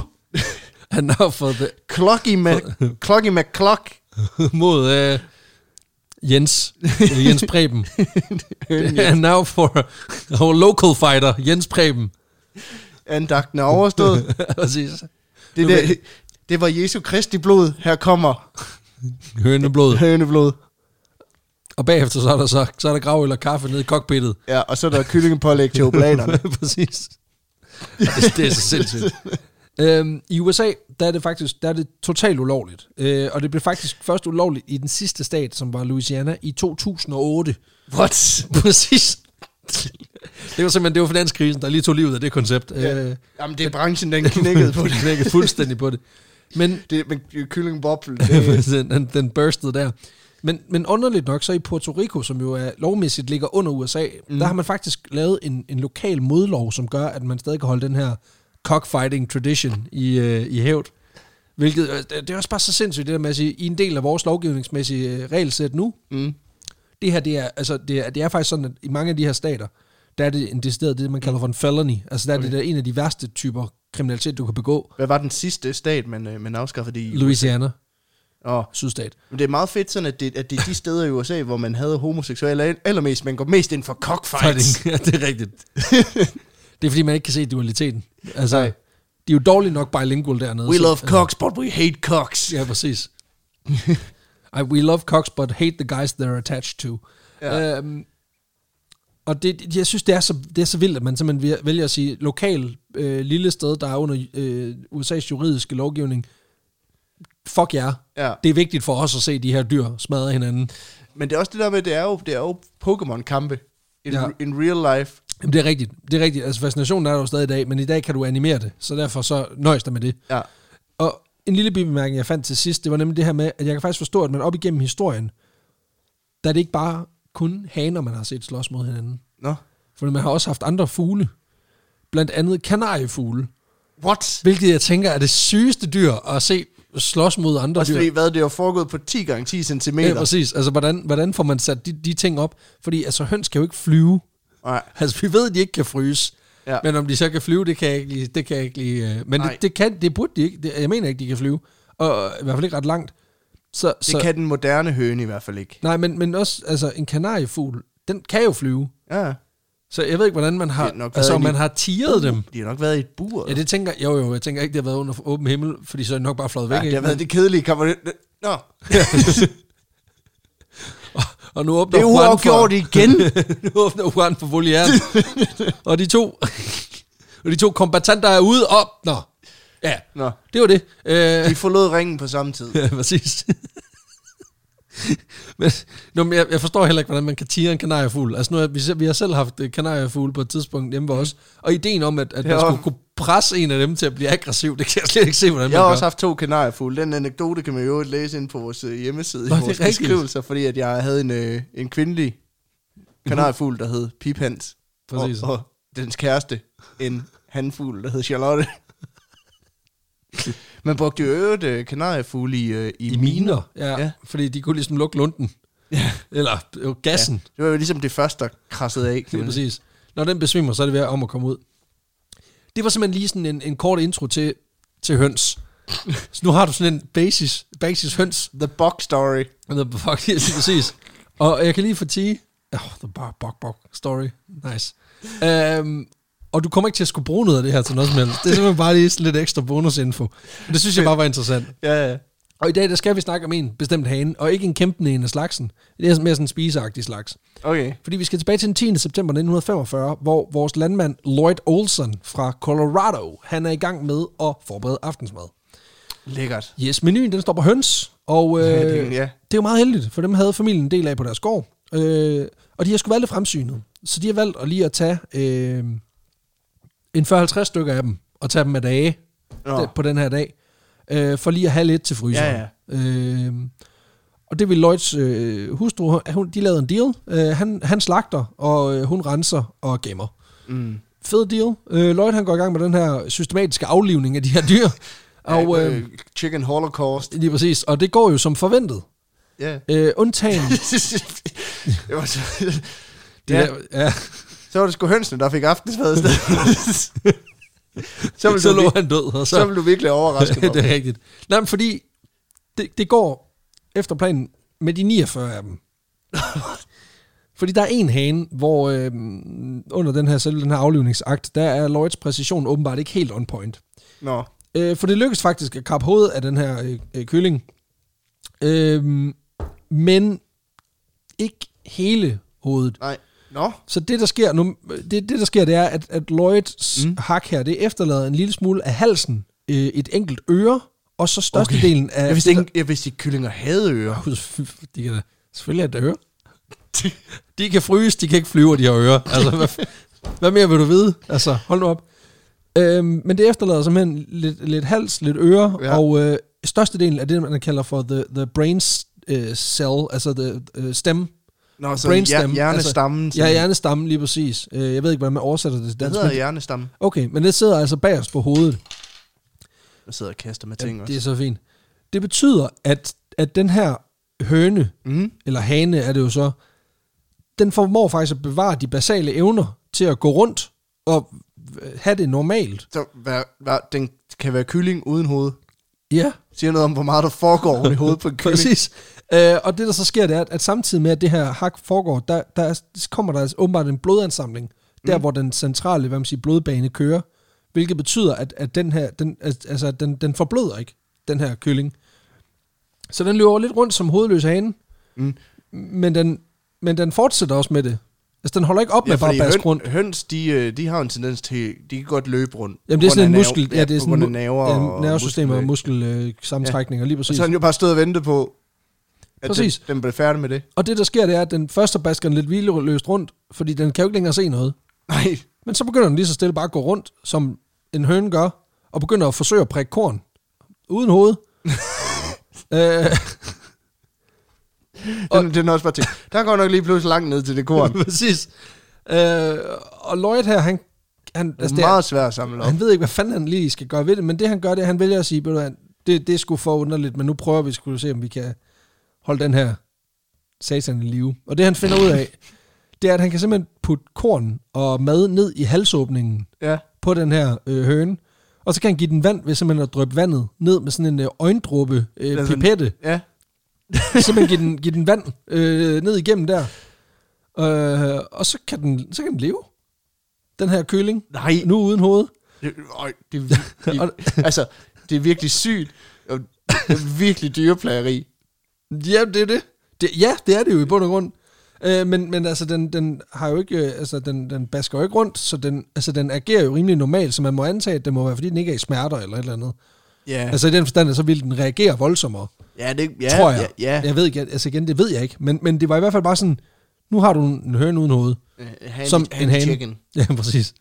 Speaker 2: Han har fået det
Speaker 1: klokke *laughs* med, klokke med klok.
Speaker 2: mod øh, Jens, eller Jens *laughs* Preben. And now for our local fighter, Jens Preben.
Speaker 1: Andagten er overstået.
Speaker 2: *laughs* Præcis.
Speaker 1: Det, der, det var Jesu Kristi blod, her kommer
Speaker 2: Høneblod.
Speaker 1: høneblod.
Speaker 2: og bagefter så er der, så, så er der grav eller kaffe nede i cockpittet.
Speaker 1: Ja, og så er der kyllingepålæg til oblanerne.
Speaker 2: *laughs* Præcis. Det, det er så sindssygt. Øhm, I USA, der er det faktisk der er det totalt ulovligt. Øh, og det blev faktisk først ulovligt i den sidste stat, som var Louisiana, i 2008.
Speaker 1: *laughs* What?
Speaker 2: *laughs* Præcis. Det var simpelthen det var finanskrisen, der lige tog livet af det koncept.
Speaker 1: Ja.
Speaker 2: Øh,
Speaker 1: Jamen, det er branchen, den knækkede på
Speaker 2: på det
Speaker 1: det.
Speaker 2: knækkede fuldstændig på det. Men
Speaker 1: det men kyllingboblen, *laughs*
Speaker 2: *laughs*
Speaker 1: det,
Speaker 2: den, den, den burstede der. Men, men underligt nok, så i Puerto Rico, som jo er lovmæssigt ligger under USA, mm. der har man faktisk lavet en, en lokal modlov, som gør, at man stadig kan holde den her cockfighting tradition i, øh, i hævd. Hvilket, øh, det- det er også bare så sindssygt, det der med at sige, i en del af vores lovgivningsmæssige øh, regelsæt nu,
Speaker 1: mm.
Speaker 2: det her, det er, altså, det er, det er faktisk sådan, at i mange af de her stater, der er det en decideret, det man kalder
Speaker 1: Mm.
Speaker 2: for en felony. Altså, der er okay. det der en af de værste typer kriminalitet, du kan begå.
Speaker 1: Hvad var den sidste stat, man, øh, man afskaffede det i?
Speaker 2: Louisiana,
Speaker 1: Åh,
Speaker 2: sydstat.
Speaker 1: men det er meget fedt sådan, at det, at det er de steder i USA, hvor man havde homoseksuelle al- allermest, man går mest ind for cockfights.
Speaker 2: Fighting. Ja, det er rigtigt. det er fordi, man ikke kan se dualiteten. Altså,
Speaker 1: Nej.
Speaker 2: de er jo dårligt nok bilingual dernede.
Speaker 1: We
Speaker 2: så-
Speaker 1: love
Speaker 2: altså,
Speaker 1: cocks, but we hate cocks.
Speaker 2: Ja, præcis. *laughs* I, we love cocks, but hate the guys they're attached to.
Speaker 1: Ja.
Speaker 2: Ja. Øhm, og det, jeg synes, det er, så, det er så vildt, at man simpelthen vil- vælger at sige, lokal øh, lille sted, der er under øh, USA's juridiske lovgivning, fuck jer.
Speaker 1: Ja.
Speaker 2: Det er vigtigt for os at se de her dyr smadre hinanden.
Speaker 1: Men det er også det der med, det er jo, det er jo Pokémon-kampe. In,
Speaker 2: Ja.
Speaker 1: in real life.
Speaker 2: Jamen, det er rigtigt. Det er rigtigt. Altså, fascinationen er der jo stadig i dag, men i dag kan du animere det, så derfor så nøjes dig med det.
Speaker 1: Ja.
Speaker 2: Og en lille bemærkning, jeg fandt til sidst, det var nemlig det her med, at jeg kan faktisk forstå, at man op igennem historien, der er det ikke bare kun haner, man har set slås mod hinanden.
Speaker 1: Nå.
Speaker 2: For man har også haft andre fugle. Blandt andet kanariefugle.
Speaker 1: What?
Speaker 2: Hvilket jeg tænker er det sygeste dyr at se slås mod andre
Speaker 1: Også fordi,
Speaker 2: dyr.
Speaker 1: hvad, det er jo foregået på 10 gange 10 cm.
Speaker 2: Ja, præcis. Altså, hvordan, hvordan får man sat de, de ting op? Fordi altså, høns kan jo ikke flyve.
Speaker 1: Nej.
Speaker 2: Altså, vi ved, at de ikke kan fryse.
Speaker 1: Ja.
Speaker 2: Ja. Men om de så kan flyve, det kan jeg ikke lige... Det kan jeg ikke lige øh, men
Speaker 1: Nej.
Speaker 2: det, det, kan, det burde de ikke. Det, jeg mener ikke, de kan flyve. Og øh, i hvert fald ikke ret langt. Så,
Speaker 1: Det
Speaker 2: så,
Speaker 1: kan den moderne høne i hvert fald ikke.
Speaker 2: Nej, men, men også altså, en kanariefugl, den kan jo flyve.
Speaker 1: Ja.
Speaker 2: Så jeg ved ikke, hvordan man
Speaker 1: Det
Speaker 2: har...
Speaker 1: er nok
Speaker 2: Altså,
Speaker 1: været
Speaker 2: om
Speaker 1: i-
Speaker 2: man har tiret dem.
Speaker 1: De har nok været i et bur.
Speaker 2: Ja, det tænker... Jo, jo, jeg tænker ikke, det har været under åben himmel, fordi så er det nok bare fløjet væk.
Speaker 1: ja, det har
Speaker 2: ikke?
Speaker 1: været det kedelige kamp. Nå,
Speaker 2: Og nu åbner
Speaker 1: det er
Speaker 2: Juan for,
Speaker 1: uafgjort igen.
Speaker 2: *laughs* nu åbner Juan for
Speaker 1: *laughs*
Speaker 2: volieren. og de to... *laughs* og de to kombatanter er ude op. Nå. Ja,
Speaker 1: Nå,
Speaker 2: det var det. Øh,
Speaker 1: de forlod ringen på samme tid.
Speaker 2: *laughs* Ja, præcis. men, nå, men jeg, jeg forstår heller ikke, hvordan man kan tire en kanariefugl. Altså nu, er- vi, se- vi har selv haft øh, kanariefugl på et tidspunkt hjemme ved os, og ideen om, at, at man
Speaker 1: Mm. Ja.
Speaker 2: skulle kunne presse en af dem til at blive aggressiv, det kan jeg slet ikke se, hvordan
Speaker 1: Jeg
Speaker 2: man
Speaker 1: har
Speaker 2: gør.
Speaker 1: også haft to kanariefugle. Den anekdote kan man jo læse ind på vores øh, hjemmeside
Speaker 2: Nå,
Speaker 1: i
Speaker 2: det er
Speaker 1: vores
Speaker 2: rigtigt.
Speaker 1: beskrivelser, fordi at jeg havde en, øh, en kvindelig kanariefugl, der hed Piphans.
Speaker 2: Mhm. Præcis.
Speaker 1: Og, og dens kæreste, en handfugl, der hed Charlotte. Man brugte jo i øvrigt øh, kanariefugle i, øh, i,
Speaker 2: I miner, ja,
Speaker 1: Ja.
Speaker 2: ja. fordi de kunne ligesom lukke lunden.
Speaker 1: Ja.
Speaker 2: Eller øh, gassen, ja,
Speaker 1: Det var jo ligesom det første, der krassede af. kan
Speaker 2: det er
Speaker 1: man sige.
Speaker 2: præcis. Når den besvimer, så er det ved om at komme ud. Det var simpelthen lige sådan en, en kort intro til,
Speaker 1: *laughs*
Speaker 2: til høns. Så nu har du sådan en basis, basis høns
Speaker 1: The Box Story.
Speaker 2: The *laughs* Buck, ja, lige præcis. Og jeg kan lige fortige... Oh, the Buck, Buck, Buck story. Nice. Um, og du kommer ikke til at skulle bruge noget af det her til noget som helst. Det er simpelthen bare lige sådan lidt ekstra bonusinfo. Men det synes jeg bare var interessant.
Speaker 1: Ja, ja.
Speaker 2: Og i dag, der skal vi snakke om en bestemt hane, og ikke en kæmpende en af slagsen. Det er mere sådan en spiseagtig slags.
Speaker 1: Okay.
Speaker 2: Fordi vi skal tilbage til den 10. september 1945, hvor vores landmand Lloyd Olson fra Colorado, han er i gang med at forberede aftensmad.
Speaker 1: Lækkert.
Speaker 2: Yes, menuen den står på høns, og øh,
Speaker 1: Ja,
Speaker 2: ja,
Speaker 1: det-
Speaker 2: det,
Speaker 1: ja.
Speaker 2: ja. det er jo meget heldigt, for dem havde familien en del af på deres gård, øh, og de har sgu været lidt fremsynet. Så de har valgt at lige at tage øh, en 40-50 stykker af dem, og tage dem af dage
Speaker 1: Nå.
Speaker 2: d- på den her dag, øh, for lige at have lidt til fryseren.
Speaker 1: Ja,
Speaker 2: ja. Øh, og det vil Lloyds øh, hustru, hun, de lavede en deal. Øh, han, han slagter, og øh, hun renser og gemmer.
Speaker 1: Mm.
Speaker 2: Fed deal. Øh, Lloyd han går i gang med den her systematiske aflivning af de her dyr. Og,
Speaker 1: *laughs* Ja,
Speaker 2: øh,
Speaker 1: Chicken Holocaust.
Speaker 2: Lige præcis, og det går jo som forventet. *laughs*
Speaker 1: *laughs* Ja.
Speaker 2: Øh, undtagen...
Speaker 1: det var så,
Speaker 2: Det
Speaker 1: Ja.
Speaker 2: ja. Der, ja.
Speaker 1: så var det sgu hønsene, der fik aftensmad i stedet.
Speaker 2: *laughs*
Speaker 1: så, ville
Speaker 2: så
Speaker 1: du,
Speaker 2: lå
Speaker 1: vir-
Speaker 2: han død, og så...
Speaker 1: så ville du virkelig overraske
Speaker 2: *laughs*
Speaker 1: mig.
Speaker 2: det er rigtigt. Nej, men fordi det, det går efter planen med de 49 af dem. *laughs* fordi der er en hane, hvor øh, under den her, selv den her aflivningsakt, der er Lloyds præcision åbenbart ikke helt on point.
Speaker 1: Nå,
Speaker 2: Øh, for det lykkes faktisk at kappe hovedet af den her øh, øh, kylling. Øh, men Øhm, ikke hele hovedet.
Speaker 1: Nej. Nå,
Speaker 2: Så det der sker nu, det, det der sker, det er, at, at Lloyds
Speaker 1: Mm.
Speaker 2: mm. hak her, det efterlader en lille smule af halsen, øh, et enkelt øre, og så størstedelen okay. af...
Speaker 1: jeg vidste, ikke, jeg vidste, at kyllinger havde ører.
Speaker 2: Gud, *laughs* De kan da, selvfølgelig er det øre. *laughs* De kan fryse, de kan ikke flyve, og de har ører. Altså, hvad, f- hvad mere vil du vide? Altså, hold nu op. Øhm, men det efterlader simpelthen lidt, lidt hals, lidt øre,
Speaker 1: Ja.
Speaker 2: ja. og øh, størstedelen af det, man kalder for the, the brain s- øh, cell, altså the øh, stem.
Speaker 1: Nå, så
Speaker 2: Brainstem,
Speaker 1: hjer- hjernestammen. Altså,
Speaker 2: Ja, hjernestammen lige præcis. Øh, jeg ved ikke, hvordan man oversætter det til
Speaker 1: Det
Speaker 2: dansk.
Speaker 1: hedder
Speaker 2: men-
Speaker 1: hjernestammen.
Speaker 2: Okay, men det sidder altså bagerst på hovedet.
Speaker 1: Jeg sidder og kaster med ting
Speaker 2: Ja,
Speaker 1: også.
Speaker 2: det er så fint. Det betyder, at, at den her høne,
Speaker 1: Mm.
Speaker 2: eller hane er det jo så, den formår faktisk at bevare de basale evner til at gå rundt og øh, have det normalt.
Speaker 1: Så hvad, hvad, den kan være kylling uden hoved.
Speaker 2: Ja,
Speaker 1: Siger noget om, hvor meget der foregår oven i hovedet
Speaker 2: *laughs*
Speaker 1: på en kylling.
Speaker 2: præcis. Øh, og det, der så sker, det er, at, at samtidig med, at det her hak foregår, der, der er, kommer der altså åbenbart en blodansamling, der
Speaker 1: Mm.
Speaker 2: mm. hvor den centrale hvad man siger, blodbane kører, hvilket betyder, at, at den her, den, altså, at den, den forbløder ikke, den her kylling. Så den løber lidt rundt som hovedløs hane,
Speaker 1: Mm.
Speaker 2: men den, men den fortsætter også med det. Altså, den holder ikke op med bare
Speaker 1: fordi
Speaker 2: at baske
Speaker 1: høn-
Speaker 2: rundt.
Speaker 1: Høns, de, øh, de har jo en tendens til, de kan godt løbe rundt.
Speaker 2: Jamen
Speaker 1: på
Speaker 2: det
Speaker 1: grund
Speaker 2: er
Speaker 1: af
Speaker 2: sådan en
Speaker 1: nerve-
Speaker 2: muskel, ja, det er
Speaker 1: på
Speaker 2: sådan
Speaker 1: grund af
Speaker 2: mu-
Speaker 1: nerver
Speaker 2: ja,
Speaker 1: og
Speaker 2: nervesystemer og
Speaker 1: muskel.
Speaker 2: muskelsammentrækninger, lige
Speaker 1: Og
Speaker 2: præcis.
Speaker 1: så har han jo bare stået og ventet på, at
Speaker 2: Præcis.
Speaker 1: Den, den blev færdig med
Speaker 2: *laughs*
Speaker 1: det.
Speaker 2: Og det der sker, det er, at den første basker den lidt hvileløst rundt, fordi den kan jo ikke længere se noget.
Speaker 1: Nej,
Speaker 2: Men så begynder den lige så stille bare at gå rundt, som en høne gør, og begynder at forsøge at prikke korn. Uden hoved. øh, *laughs* Og-
Speaker 1: den, den er også bare til. Der går nok lige pludselig langt ned til det
Speaker 2: *laughs*
Speaker 1: korn.
Speaker 2: præcis. Øh, og Lloyd her, han, han,
Speaker 1: Det er
Speaker 2: altså, det er,
Speaker 1: meget svært at samle op.
Speaker 2: han ved ikke, hvad fanden han lige skal gøre ved det, men det han gør, det er, at han vælger at sige, "Ved du hvad, det, det er sgu for underligt, men nu prøver vi skulle se, om vi kan holde den her satan i live. Og det han finder ud
Speaker 1: *laughs*
Speaker 2: af, det er, at han kan simpelthen putte korn og mad ned i halsåbningen
Speaker 1: Ja.
Speaker 2: på den her øh, høne, og så kan han give den vand ved simpelthen at dryppe vandet ned med sådan en øh, øjendråbe øh,
Speaker 1: Altså en- *laughs*
Speaker 2: pipette.
Speaker 1: Ja,
Speaker 2: simpelthen give den, give den vand øh, ned igennem der. Øh, og så kan, den, så kan den leve. Den her køling.
Speaker 1: nej.
Speaker 2: Nu uden hoved.
Speaker 1: Det, øj, det,
Speaker 2: *laughs*
Speaker 1: det, altså, det er virkelig sygt. Og det er virkelig dyreplageri.
Speaker 2: Ja, det er det. det. Ja, det er det jo i bund og grund. Øh, men, men altså, den, den har jo ikke, øh, altså, den, den basker jo ikke rundt, så den, altså, den agerer jo rimelig normalt, så man må antage, at det må være, fordi den ikke er i smerter eller et eller andet.
Speaker 1: Ja,
Speaker 2: Ja. Altså i den forstand, at så vil den reagere voldsommere,
Speaker 1: ja det ja,
Speaker 2: tror jeg.
Speaker 1: Ja, ja.
Speaker 2: Jeg ved ikke, altså igen, det ved jeg ikke, men, men det var i hvert fald bare sådan, nu har du en høne uden hoved.
Speaker 1: Øh, Hand,
Speaker 2: Som en hane.
Speaker 1: Chicken.
Speaker 2: *laughs* Ja, præcis.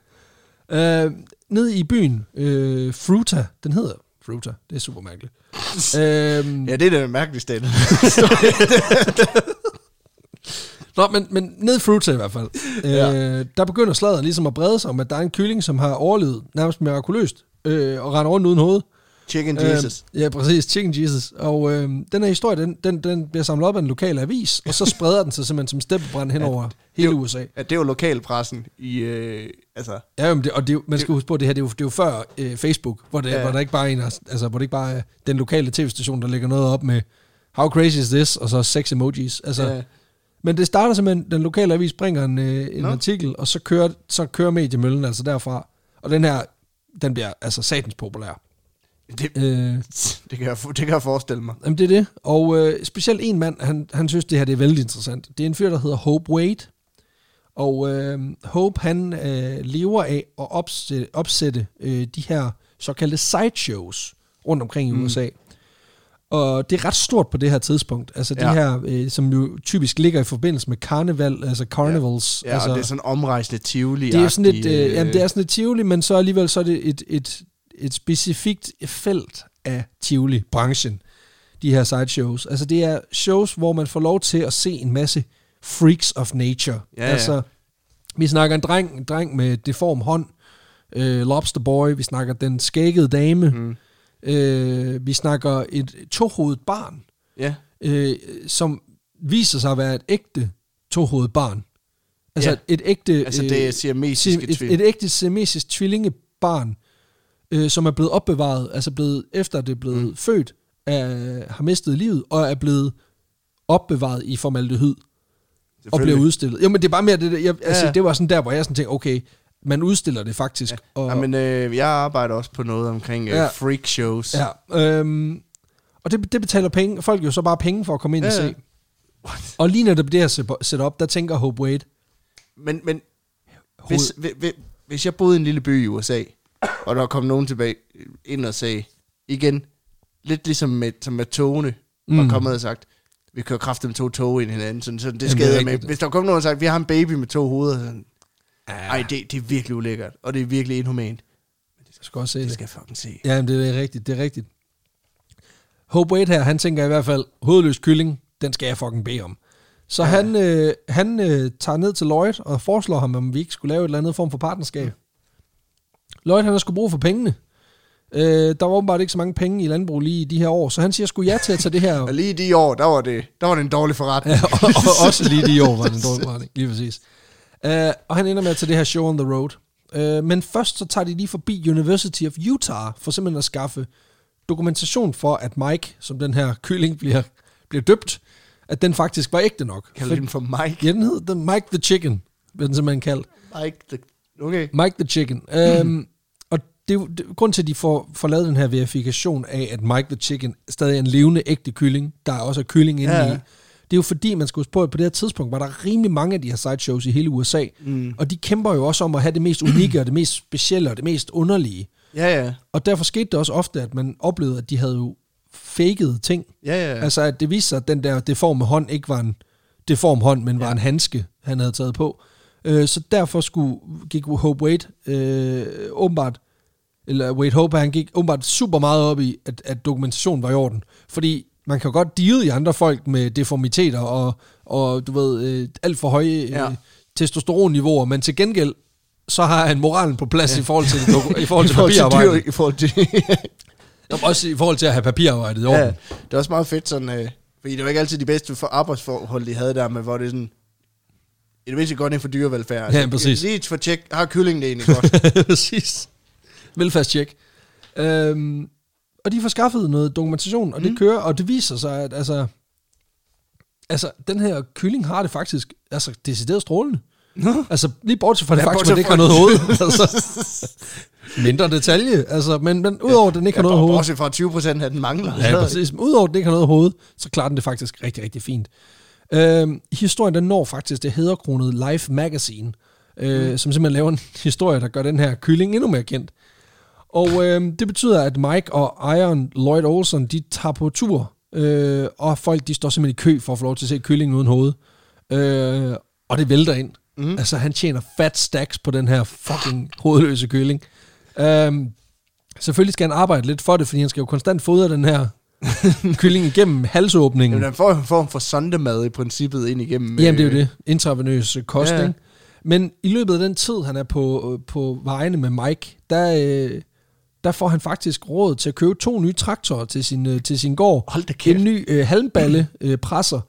Speaker 2: Øh, ned i byen, øh, Fruta, den hedder Fruta, det er super
Speaker 1: *laughs*
Speaker 2: mærkeligt. øh,
Speaker 1: Ja, det er det mærkeligste.
Speaker 2: *laughs*
Speaker 1: af det.
Speaker 2: Nå, men, men ned i Fruita i hvert fald.
Speaker 1: *laughs* Ja.
Speaker 2: ja. øh, der begynder sladder ligesom at brede sig om, at der er en kylling, som har overlevet nærmest mirakuløst øh, og render rundt uden hoved.
Speaker 1: Chicken Jesus.
Speaker 2: Øh, ja, præcis. Chicken Jesus. Og øh, den her historie, den, den, den bliver samlet op af en lokal avis, og så spreder den sig simpelthen som
Speaker 1: *laughs*
Speaker 2: steppebrand hen over hele
Speaker 1: jo.
Speaker 2: USA.
Speaker 1: Ja, det er jo lokalpressen i, øh, altså,
Speaker 2: Ja, jo, men det, og det, er jo- man skal huske på, at det her det er jo, det er jo før øh, Facebook, hvor, det,
Speaker 1: Ja.
Speaker 2: ja. hvor der ikke bare er en, der- altså, hvor det ikke bare er den lokale tv-station, der lægger noget op med How crazy is this? Og så seks emojis. Altså,
Speaker 1: ja,
Speaker 2: Men det starter simpelthen, den lokale avis bringer en, øh, en
Speaker 1: Nå.
Speaker 2: artikel, og så kører, så kører mediemøllen altså derfra. Og den her, den bliver altså satans populær.
Speaker 1: det,
Speaker 2: Øh,
Speaker 1: det, kan jeg, for- det kan jeg forestille mig.
Speaker 2: jamen det er det. Og øh, specielt en mand, han, han synes det her det er vældig interessant. Det er en fyr, der hedder Hope Wade. Og øh, Hope, han øh, lever af at opsætte, opsætte øh, de her såkaldte sideshows rundt omkring i
Speaker 1: Mm.
Speaker 2: USA. Og det er ret stort på det her tidspunkt. Altså de
Speaker 1: Ja.
Speaker 2: her, øh, som jo typisk ligger i forbindelse med karneval, altså carnivals.
Speaker 1: Ja,
Speaker 2: altså,
Speaker 1: og det er sådan omrejsende tivoli
Speaker 2: det er jo sådan et, øh, jamen, det er sådan et tivoli, men så alligevel så er det et, et, et specifikt felt af tivoli-branchen, de her sideshows. Altså det er shows, hvor man får lov til at se en masse freaks of nature.
Speaker 1: Ja, ja.
Speaker 2: altså, vi snakker en dreng, en dreng med deform hånd, øh, lobster boy, vi snakker den skækkede dame,
Speaker 1: Mm.
Speaker 2: øh, vi snakker et tohovedet barn,
Speaker 1: Ja,
Speaker 2: øh, som viser sig at være et ægte tohovedet barn. Altså
Speaker 1: Ja.
Speaker 2: ja. et ægte... øh,
Speaker 1: altså det er siamesiske
Speaker 2: Sim-
Speaker 1: tvivl.
Speaker 2: et, et ægte siamesisk tvillingebarn, øh, som er blevet opbevaret, altså blevet, efter det er blevet
Speaker 1: Mm.
Speaker 2: mm. født, er, har mistet livet, og er blevet opbevaret i formaldehyd, og blev udstillet. Jo, men det er bare mere det, der- jeg, altså,
Speaker 1: Ja.
Speaker 2: det var sådan der, hvor jeg sådan tænkte, okay, man udstiller det faktisk. Ja, og,
Speaker 1: Ja, men øh, jeg arbejder også på noget omkring øh,
Speaker 2: Ja.
Speaker 1: freak shows.
Speaker 2: ja øhm, og det, det betaler penge, folk jo så bare penge for at komme ind ja,
Speaker 1: Ja,
Speaker 2: og
Speaker 1: ja.
Speaker 2: se.
Speaker 1: What?
Speaker 2: Og lige netop det her setup- setup, der tænker Hope Wade,
Speaker 1: Men, men hvis, hvis, hvis, hvis jeg boede i en lille by i USA, og der kom nogen tilbage ind og sagde, igen, lidt ligesom med, som med togene, mm.
Speaker 2: Mm.
Speaker 1: og kommet og sagt, vi kører kraftigt med to tog ind i hinanden, sådan, sådan det
Speaker 2: Jamen, det er
Speaker 1: skader med.
Speaker 2: rigtigt.
Speaker 1: Hvis der kom nogen og sagt, vi har en baby med to hoveder, sådan, ej, det, det er virkelig ulækkert, og det er virkelig inhumant.
Speaker 2: jeg skal også se
Speaker 1: Det
Speaker 2: det.
Speaker 1: skal jeg fucking se.
Speaker 2: Ja, det er rigtigt, det er rigtigt. Hope Wade her, han tænker i hvert fald, hovedløs kylling, den skal jeg fucking bede om. Så ja. han, øh, han øh, tager ned til Lloyd og foreslår ham, om vi ikke skulle lave et eller andet form for partnerskab. Mm. Lloyd, han har sgu brug for pengene. Øh, der var åbenbart ikke så mange penge i landbrug lige i de her år, så han siger sgu ja til at tage det her
Speaker 1: Og lige i de år, der var det, der var det en dårlig forretning.
Speaker 2: Ja, og, og også lige de år var den dårlige forretning, lige præcis. Uh, og han ender med at tage det her show on the road. Uh, men først så tager de lige forbi University of Utah, for simpelthen at skaffe dokumentation for, at Mike, som den her kylling bliver, bliver døbt, at den faktisk var ægte nok.
Speaker 1: Kalder den for Mike?
Speaker 2: Ja, den hed den Mike the Chicken, blev den simpelthen kaldt.
Speaker 1: Mike, the, okay.
Speaker 2: Mike the Chicken. Øhm, Og det, er jo- det, grunden til, at de får, får lavet den her verifikation af, at Mike the Chicken stadig er en levende, ægte kylling, der er også er kylling inde
Speaker 1: Ja,
Speaker 2: ja.
Speaker 1: ja.
Speaker 2: i, det er jo fordi, man skal huske på, at på det her tidspunkt var der rimelig mange af de her sideshows i hele USA, mm. og de kæmper jo også om at have det mest unikke, og det mest specielle, og det mest underlige.
Speaker 1: Ja, ja.
Speaker 2: Og derfor skete det også ofte, at man oplevede, at de havde jo fakede ting.
Speaker 1: Ja, ja.
Speaker 2: Ja. Altså, at det viste sig, at den der deforme hånd ikke var en deform hånd, men ja. var en handske, han havde taget på. Øh, så derfor skulle, gik Hope Wade øh, åbenbart, eller Wade Hope, han gik åbenbart super meget op i, at, at dokumentationen var i orden. Fordi man kan jo godt deal i andre folk med deformiteter og, og du ved, øh, alt for høje øh,
Speaker 1: Ja.
Speaker 2: ja. testosteronniveauer, men til gengæld, så har han moralen på plads ja. i forhold til, doku- *laughs* i forhold til papirarbejdet.
Speaker 1: dyr, I forhold til...
Speaker 2: Jamen, Også i forhold til at have papirarbejdet i orden.
Speaker 1: ja,
Speaker 2: Ja.
Speaker 1: det er også meget fedt sådan... Øh, fordi det var ikke altid de bedste for arbejdsforhold, de havde der med, hvor det er sådan... I det mindste godt ind for dyrevelfærd. Altså,
Speaker 2: Ja, præcis.
Speaker 1: Lige for tjek, har kyllingen det egentlig
Speaker 2: *laughs*
Speaker 1: godt? *laughs*
Speaker 2: Præcis. Velfærdstjek. Øhm, og de får skaffet noget dokumentation, og det mm. kører, og det viser sig, at altså, altså, den her kylling har det faktisk altså, decideret strålende.
Speaker 1: Nå.
Speaker 2: Altså, lige bortset fra det
Speaker 1: Ja,
Speaker 2: ja, faktisk,
Speaker 1: bortset
Speaker 2: at den ikke
Speaker 1: fra-
Speaker 2: har noget hoved. altså,
Speaker 1: *laughs*
Speaker 2: mindre detalje, altså, men, men udover at den ikke har noget hoved.
Speaker 1: Også fra 20 procent af den mangler.
Speaker 2: Ja, præcis. Men Udover at den ikke har noget hoved, så klarer den det faktisk rigtig, rigtig fint. Øhm, historien, den når faktisk det hedderkronede Life Magazine, øh, mm. som simpelthen laver en *laughs* historie, der gør den her kylling endnu mere kendt. Og øhm, det betyder, at Mike og Iron Lloyd Olsen, de tager på tur, øh, og folk, de står simpelthen i kø for at få lov til at se kyllingen uden hoved. Øh, og det vælter ind. Mm. Altså, han tjener fat stacks på den her fucking hovedløse kylling. Øhm, selvfølgelig skal han arbejde lidt for det, fordi han skal jo konstant fodre den
Speaker 1: *laughs*
Speaker 2: her kylling igennem halsåbningen.
Speaker 1: Jamen, den får en form for sondemad i princippet ind igennem...
Speaker 2: Jamen, det er jo
Speaker 1: øh,
Speaker 2: det. Intravenøs øh, kost,
Speaker 1: Ja.
Speaker 2: ja. Men i løbet af den tid, han er på, øh, på vejene med Mike, der, øh, der får han faktisk råd til at købe to nye traktorer til sin, øh, til sin gård.
Speaker 1: Hold da kæft.
Speaker 2: En ny øh, halmballe øh, presser,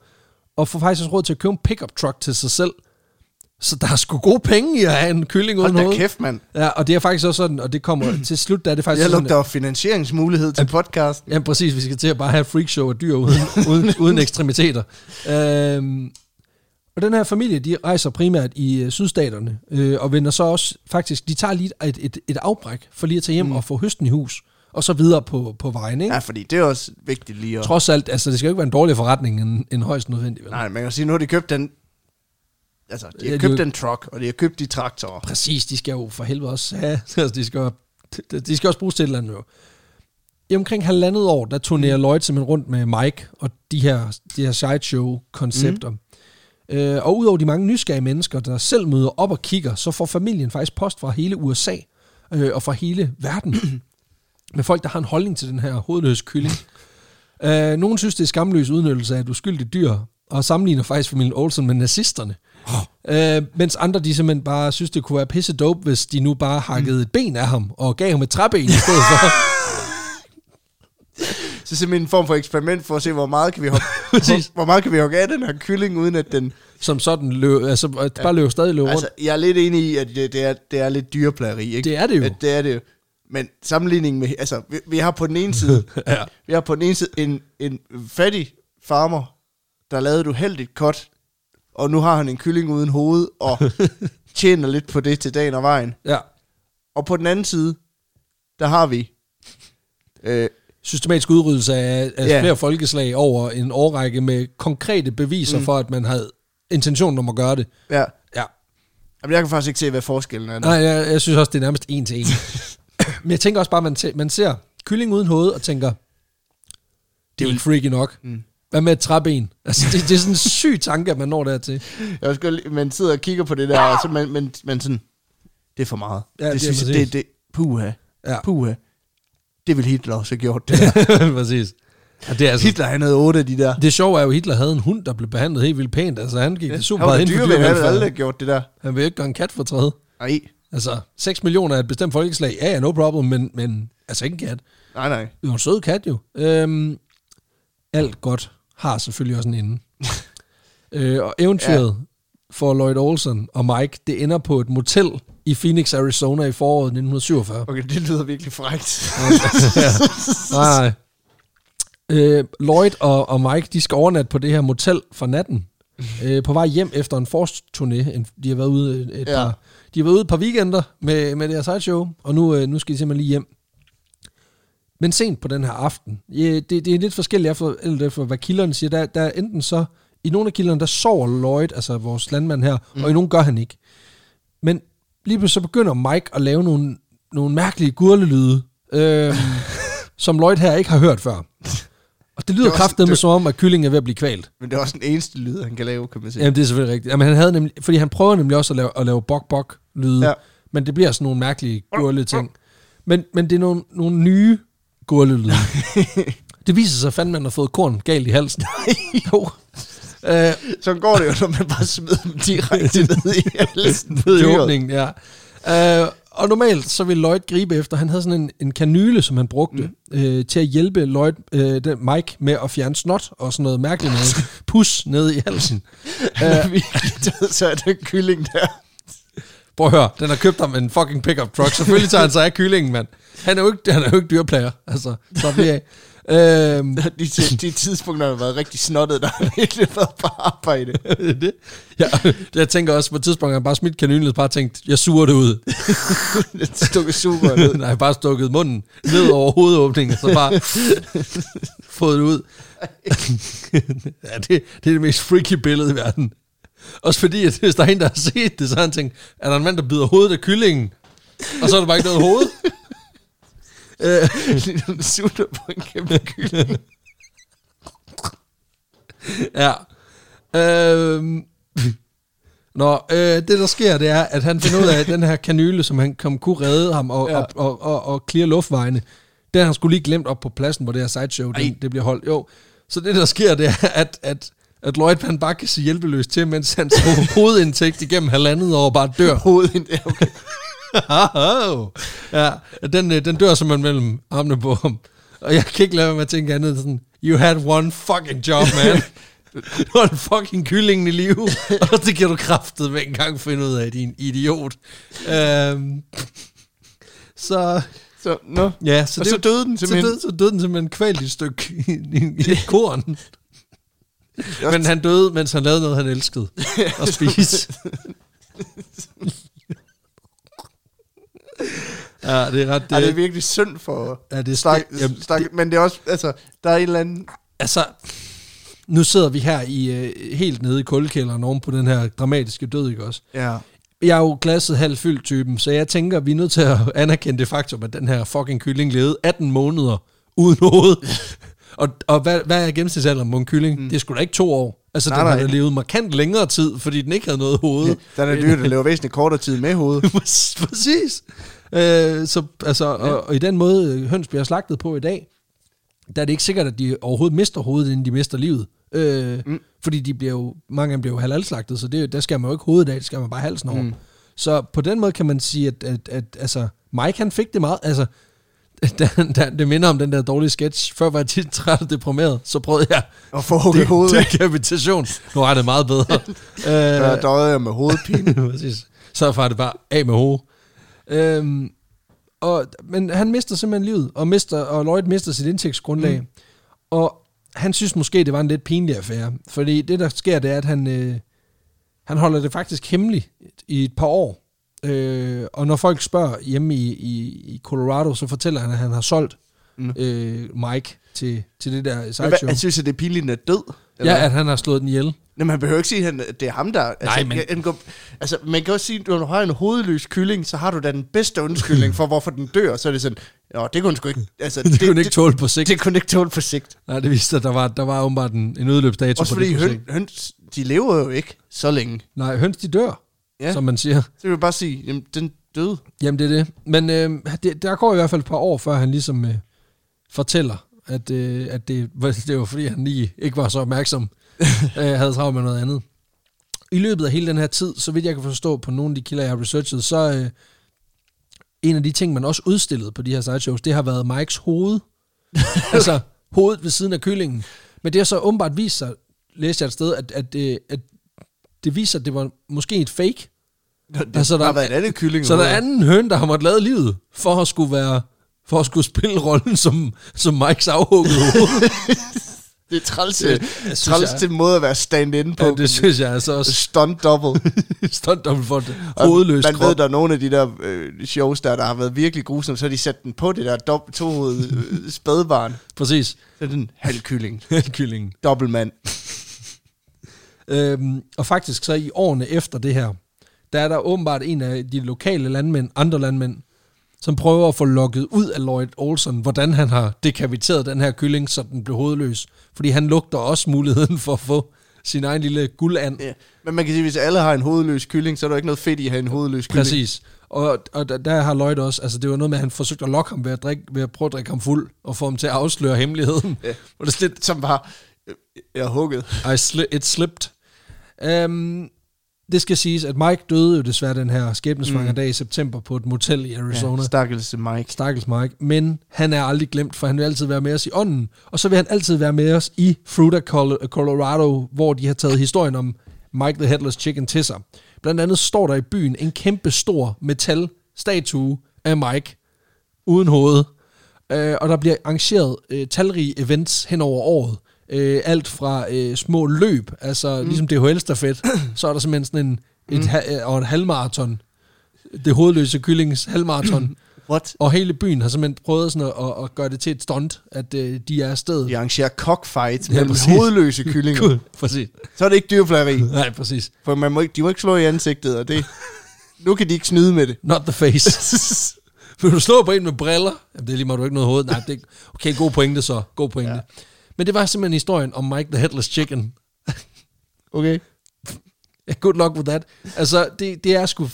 Speaker 2: og får faktisk også råd til at købe en pickup truck til sig selv. Så der er sgu gode penge i at have en kylling uden
Speaker 1: Hold da
Speaker 2: hoved.
Speaker 1: kæft, mand.
Speaker 2: Ja, og det er faktisk også sådan, og
Speaker 1: *clears throat*
Speaker 2: det kommer til slut, der er det faktisk
Speaker 1: Jeg
Speaker 2: sådan,
Speaker 1: lugter finansieringsmulighed til podcasten.
Speaker 2: Ja, præcis. Vi skal til at bare have et freakshow af
Speaker 1: *laughs*
Speaker 2: dyr uden, uden, uden ekstremiteter. Øhm, og den her familie, de rejser primært i øh, sydstaterne, øh, og vender så også faktisk, de tager lige et, et, et afbræk for lige at tage hjem mm. og få høsten i hus, og så videre på, på vejen. Ikke?
Speaker 1: Ja,
Speaker 2: Ja.
Speaker 1: fordi det er også vigtigt lige at...
Speaker 2: Trods alt, altså det skal jo ikke være en dårlig forretning end, end højst nødvendigt. Vel?
Speaker 1: Nej, man kan sige, nu har de købt den... Altså, de
Speaker 2: Ja,
Speaker 1: har
Speaker 2: de
Speaker 1: købt
Speaker 2: jo-
Speaker 1: den truck, og de har købt de traktorer.
Speaker 2: Præcis, de skal jo for helvede også *laughs* have, altså de skal, jo- de- de skal også bruges til et eller andet jo. I omkring halvandet år, der turnerer Lloyd simpelthen rundt med Mike og de her, de her sideshow-koncepter. Mm. Øh, og udover de mange nysgerrige mennesker, der selv møder op og kigger, så får familien faktisk post fra hele USA øh, og fra hele verden. med folk, der har en holdning til den her hovedløse kylling. øh, nogen synes, det er skamløs udnyttelse af et uskyldigt dyr, og sammenligner faktisk familien Olsen med nazisterne. Øh, mens andre, de simpelthen bare synes, det kunne være pisse dope, hvis de nu bare hakkede et ben af ham, og gav ham et træben i stedet for. *laughs*
Speaker 1: Så simpelthen en form for eksperiment for at se, hvor meget kan vi hoppe,
Speaker 2: *laughs*
Speaker 1: hvor, hvor meget kan vi hoppe af den her kylling, uden at den...
Speaker 2: som sådan løb, altså at bare løb stadig løb rundt.
Speaker 1: Altså, jeg er lidt enig i, at det, det, er, det er lidt dyreplageri, ikke?
Speaker 2: Det er det jo.
Speaker 1: At det er det jo. Men sammenligning med... Altså, vi, vi har på den ene
Speaker 2: *laughs*
Speaker 1: side...
Speaker 2: Altså, Ja.
Speaker 1: Vi har på den ene side en, en fattig farmer, der lavede et uheldigt cut, og nu har han en kylling uden hoved,
Speaker 2: *laughs*
Speaker 1: og tjener lidt på det til dagen og vejen.
Speaker 2: ja.
Speaker 1: Og på den anden side, der har vi øh,
Speaker 2: systematisk udryddelse af, af
Speaker 1: Ja.
Speaker 2: yeah. flere folkeslag over en årrække med konkrete beviser mm. for, at man havde intentionen om at gøre det.
Speaker 1: Ja.
Speaker 2: Ja.
Speaker 1: Jamen, jeg kan faktisk ikke se, hvad forskellen er.
Speaker 2: Nej, jeg, jeg synes også, det er nærmest en *laughs* til en. Men jeg tænker også bare, at man, tæ- man ser kylling uden hoved og tænker, det er jo freaky nok. Mm. Hvad med et træben? Altså, det, det er sådan en syg tanke, at man når dertil.
Speaker 1: Jeg vil sgu lige- man sidder og kigger på det der, og så man, man, man sådan, det er for meget.
Speaker 2: Ja, det er
Speaker 1: det, synes jeg,
Speaker 2: præcis.
Speaker 1: det, det, puha,
Speaker 2: Ja.
Speaker 1: puha. Det ville Hitler også have gjort, det der.
Speaker 2: *laughs* Præcis. Ja, det er
Speaker 1: *laughs*
Speaker 2: altså,
Speaker 1: Hitler, han havde otte af de der.
Speaker 2: det sjove er jo, at Hitler havde en hund, der blev behandlet helt vildt pænt. Altså, han gik ja, super
Speaker 1: Han var
Speaker 2: meget ind for
Speaker 1: dyreven, han havde aldrig
Speaker 2: dyrevelfærd.
Speaker 1: gjort det der.
Speaker 2: Han vil jo ikke gøre en kat for træde.
Speaker 1: Nej,
Speaker 2: Altså, 6 millioner er et bestemt folkeslag. Ja, ja, no problem, men, men altså ikke en kat.
Speaker 1: nej, nej.
Speaker 2: Det var en sød kat jo. Øhm, alt godt har selvfølgelig også en ende. øh, og eventyret ja. for Lloyd Olsen og Mike, det ender på et motel i Phoenix, Arizona i foråret 1947.
Speaker 1: Okay, det lyder virkelig frækt.
Speaker 2: Nej. Øh, Lloyd og, og Mike, de skal overnatte på det her motel for natten. Øh, på vej hjem efter en forårsturné. En- De har været ude et, et
Speaker 1: Ja.
Speaker 2: ja. par, de har været ude et par weekender med, med deres sideshow, og nu, øh, nu skal de simpelthen lige hjem. Men sent på den her aften. Ja, det, det er lidt forskelligt efter, eller for, hvad kilderne siger. Der, der er enten så, i nogle af kilderne, der sover Lloyd, altså vores landmand her, mm. og i nogle gør han ikke. Men lige pludselig så begynder Mike at lave nogle, nogle mærkelige gurlelyde,
Speaker 1: *laughs*
Speaker 2: øh, som Lloyd her ikke har hørt før. Og det lyder
Speaker 1: Det var-
Speaker 2: kraftedeme
Speaker 1: det-
Speaker 2: som om, at kyllingen er ved at blive kvalt.
Speaker 1: *laughs* Men det er også den eneste lyd, han kan lave, kan man sige.
Speaker 2: Jamen, det er selvfølgelig rigtigt. Jamen, han havde nemlig, fordi han prøver nemlig også at lave, at lave bok-bok-lyde,
Speaker 1: Ja.
Speaker 2: ja. men det bliver sådan nogle mærkelige gurle ting. Men, men det er nogle, nogle nye
Speaker 1: *laughs*
Speaker 2: gurlelyde. det viser sig fandme, at man har fået korn galt i halsen. jo. Øh,
Speaker 1: Sådan går det jo, når man bare smider dem *laughs* direkte ned i halsen på
Speaker 2: i
Speaker 1: dyret.
Speaker 2: åbningen, ja. Øh, og normalt så vil Lloyd gribe efter. Han havde sådan en, en kanyle, som han brugte mm. øh, til at hjælpe Lloyd, øh, den, Mike med at fjerne snot og sådan noget mærkeligt noget. Pus ned i *laughs* halsen. Øh,
Speaker 1: Han er virkelig død, så er der kylling der.
Speaker 2: Prøv at høre, den har købt ham en fucking pickup truck. Selvfølgelig tager han sig af kyllingen, mand. Han er jo ikke, han er jo ikke dyreplager. Altså, så vi af. *laughs* Øhm,
Speaker 1: De, ti- de tidspunkter, der har været rigtig snottet, der har *laughs* virkelig været på arbejde.
Speaker 2: det. Ja, jeg tænker også, på et tidspunkt har han bare smidt kanylen og bare tænkt, jeg suger det ud.
Speaker 1: Det stukker super ned.
Speaker 2: Nej, bare stukket munden ned over hovedåbningen, og så bare fået det ud. ja, det, det er det mest freaky billede i verden. Også fordi, at hvis der er en, der har set det, så har han tænkt, er der en mand, der bider hovedet af kyllingen? Og så er der bare ikke noget hoved. Øh,
Speaker 1: Ligesom en sutter på en kæmpe kylling.
Speaker 2: *laughs* ja. Øhm. Nå, øh, det der sker, det er, at han finder ud af, at den her kanyle, som han kom, kunne redde ham og,
Speaker 1: Ja.
Speaker 2: ja. og, og, og, og clear luftvejene, den har han skulle lige glemt op på pladsen, hvor det her sideshow,
Speaker 1: Ej.
Speaker 2: det, det bliver holdt. Jo, så det der sker, det er, at, at, at Lloyd han bare kan se hjælpeløst til, mens hans ho- *laughs* hovedindtægt igennem halvandet år bare dør.
Speaker 1: Hovedet, ja, okay.
Speaker 2: Au. ja, den, øh, den dør simpelthen mellem armene på ham. Og jeg kan ikke lade være med at tænke andet end sådan, you had one fucking job, man.
Speaker 1: *laughs*
Speaker 2: Du har en fucking kylling i live, *laughs* og det kan du kraftet med engang finde ud af, din idiot. Øhm, så
Speaker 1: Så, no.
Speaker 2: ja, så,
Speaker 1: Og så døde den
Speaker 2: så
Speaker 1: simpelthen.
Speaker 2: døde, så døde den simpelthen kvalt i et stykke i, i, i et korn. Men han døde, mens han lavede noget, han *laughs* elskede at *laughs* spise. ja, det er ret...
Speaker 1: Ej, det er virkelig synd for...
Speaker 2: ja, det er
Speaker 1: Stak,
Speaker 2: snak, jamen,
Speaker 1: stak, men det er også, altså, der er en eller anden...
Speaker 2: altså, nu sidder vi her i øh, helt nede i kuldkælderen oven på den her dramatiske død, ikke også?
Speaker 1: Ja.
Speaker 2: Jeg er jo glasset halvt fyldt typen, så jeg tænker, vi er nødt til at anerkende det faktum, at den her fucking kylling levede 18 måneder uden
Speaker 1: *laughs*
Speaker 2: hoved. og og hvad, hvad er gennemsnitsalderen på en kylling? Mm. Det er sgu da ikke to år. Altså,
Speaker 1: Nej,
Speaker 2: nej, den
Speaker 1: nej.
Speaker 2: har da levet markant længere tid, fordi den ikke havde noget hoved.
Speaker 1: Der er der dyr, der lever væsentligt kortere tid med
Speaker 2: *laughs*
Speaker 1: hovedet.
Speaker 2: Præcis. Øh, så, altså, og, og i den måde, øh, høns bliver slagtet på i dag, der er det ikke sikkert, at de overhovedet mister hovedet, inden de mister livet. Øh, mm. Fordi de bliver jo, mange af dem bliver jo halalslagtet, så det, der skal man jo ikke hovedet af, der skal man bare halsen over. Mm. Så på den måde kan man sige, at, at, at altså, Mike han fik det meget, altså, *laughs* da, da, det minder om den der dårlige sketch. Før var jeg tit *laughs* træt og deprimeret, så prøvede jeg
Speaker 1: *laughs* Og få hugget hovedet.
Speaker 2: *laughs*
Speaker 1: af.
Speaker 2: decapitation. Nu er det meget bedre. øh,
Speaker 1: Der døjede jeg med hovedpine.
Speaker 2: *laughs* Præcis. Så er far det bare af med hovedet. Øhm, og, men han mister simpelthen livet, og, mister, og Lloyd mister sit indtægtsgrundlag. Mm. Og han synes måske, det var en lidt pinlig affære. Fordi det, der sker, det er, at han, øh, han holder det faktisk hemmeligt i et par år. Øh, og når folk spørger hjemme i, i, i Colorado, så fortæller han, at han har solgt mm. altså- øh, Mike til, til det der
Speaker 1: Men hvad,
Speaker 2: sideshow.
Speaker 1: han synes, at det er pinligt, at han er død?
Speaker 2: Ja, at han har slået den ihjel.
Speaker 1: Nej, man behøver ikke sige, at han- at det er ham, der... Altså,
Speaker 2: Nej, men-
Speaker 1: jeg- Han går, altså, man kan også sige, at når du har en hovedløs kylling, så har du da den bedste undskyldning for, hvorfor den dør. Så er det sådan, Nå, *laughs* det kunne den sgu ikke... Altså,
Speaker 2: Det, det kunne ikke tåle på sigt.
Speaker 1: Det kunne den ikke tåle på sigt.
Speaker 2: Nej, det viste sig, at der var, der var åbenbart en, en udløbsdato
Speaker 1: Også
Speaker 2: på
Speaker 1: fordi
Speaker 2: det projekt.
Speaker 1: høn, høns, de lever jo ikke så længe.
Speaker 2: Nej, høns de dør,
Speaker 1: Ja.
Speaker 2: ja. som man siger.
Speaker 1: Så vil jeg bare sige, jamen, den døde.
Speaker 2: Jamen, det er det. Men øh, det, der går i hvert fald et par år, før han ligesom øh, fortæller, at, øh, at det, *laughs* var- det var fordi, han lige ikke var så opmærksom, øh, havde travlt med noget andet. I løbet af hele den her tid, så vidt jeg kan forstå på nogle af de kilder, jeg har researchet, så øh, en af de ting, man også udstillede på de her sideshows, det har været Mikes hoved. altså hovedet ved siden af kyllingen. Men det har så åbenbart vist sig, læste jeg et sted, at, at, øh, at det viser, at det var måske et fake,
Speaker 1: Det
Speaker 2: Altså, der-
Speaker 1: har været et andet kylling.
Speaker 2: så der er anden høn, der har måttet lade livet, for at skulle være for at skulle spille rollen som, som Mikes afhuggede
Speaker 1: *laughs*
Speaker 2: hoved.
Speaker 1: Det er træls,
Speaker 2: Det-
Speaker 1: det,
Speaker 2: jeg synes,
Speaker 1: træls
Speaker 2: jeg-
Speaker 1: til måde at være stand-in på.
Speaker 2: ja, det synes jeg altså
Speaker 1: *laughs*
Speaker 2: også
Speaker 1: Stunt
Speaker 2: *laughs*
Speaker 1: double.
Speaker 2: stunt dobbelt for det.
Speaker 1: Og
Speaker 2: Hovedløs
Speaker 1: Man ved,
Speaker 2: krop.
Speaker 1: der er nogle af de der øh, shows, der, der har været virkelig grusomme, så har de sat den på det der dob- tohovede øh, *laughs* spædbarn. *laughs*
Speaker 2: Præcis.
Speaker 1: Så er den halvkylling.
Speaker 2: Kyllingen.
Speaker 1: Dobbeltmand.
Speaker 2: Øhm, og faktisk så i årene efter det her, der er der åbenbart en af de lokale landmænd, andre landmænd, som prøver at få lukket ud af Lloyd Olsen, hvordan han har dekapiteret den her kylling, så den blev hovedløs. Fordi han lugter også muligheden for at få sin egen lille guldand.
Speaker 1: Ja. Men man kan sige, at hvis alle har en hovedløs kylling, så er der ikke noget fedt i at have en hovedløs kylling.
Speaker 2: Præcis. Og, og der, der har Lloyd også, altså det var noget med, at han forsøgte at lokke ham ved at, drikke, ved at prøve at drikke ham fuld, og få ham til at afsløre hemmeligheden.
Speaker 1: Ja.
Speaker 2: Og det er sådan lidt,
Speaker 1: Som var, øh, jeg er hugget.
Speaker 2: I sli- it slipped. Um, det skal siges, at Mike døde jo desværre den her skæbnesvanger
Speaker 1: Mm.
Speaker 2: dag i september på et motel i Arizona.
Speaker 1: Ja, stakkels Mike.
Speaker 2: Stakkels Mike. Men han er aldrig glemt, for han vil altid være med os i ånden. Og så vil han altid være med os i Fruta, Col- Colorado, hvor de har taget historien om Mike the Headless Chicken til sig. Blandt andet står der i byen en kæmpe stor metal statue af Mike uden hoved. Øh, og der bliver arrangeret øh, talrige events hen over året. Øh, alt fra øh, små løb, altså mm. ligesom *clears throat* DHL-stafet, så er der simpelthen sådan en, et, mm. ha- og et halvmarathon. Det hovedløse kyllings *clears throat* halvmarathon.
Speaker 1: What?
Speaker 2: Og hele byen har simpelthen prøvet sådan at, at, at gøre det til et stunt, at øh, de er afsted. *laughs*
Speaker 1: De arrangerer cockfights mellem
Speaker 2: præcis.
Speaker 1: hovedløse kyllinger.
Speaker 2: Cool. Præcis.
Speaker 1: Så er det ikke dyrplageri.
Speaker 2: Nej, præcis.
Speaker 1: For man må ikke, de må ikke slå i ansigtet, og det, nu kan de ikke snyde med det.
Speaker 2: Not the face. Vil du slå på en med briller? Jamen, det er lige meget, du har ikke noget hoved. Nej, det er, okay, god pointe så. God pointe. Ja. Men det var simpelthen historien om Mike the Headless Chicken.
Speaker 1: Okay.
Speaker 2: Good luck with that. Altså, det, det er sgu...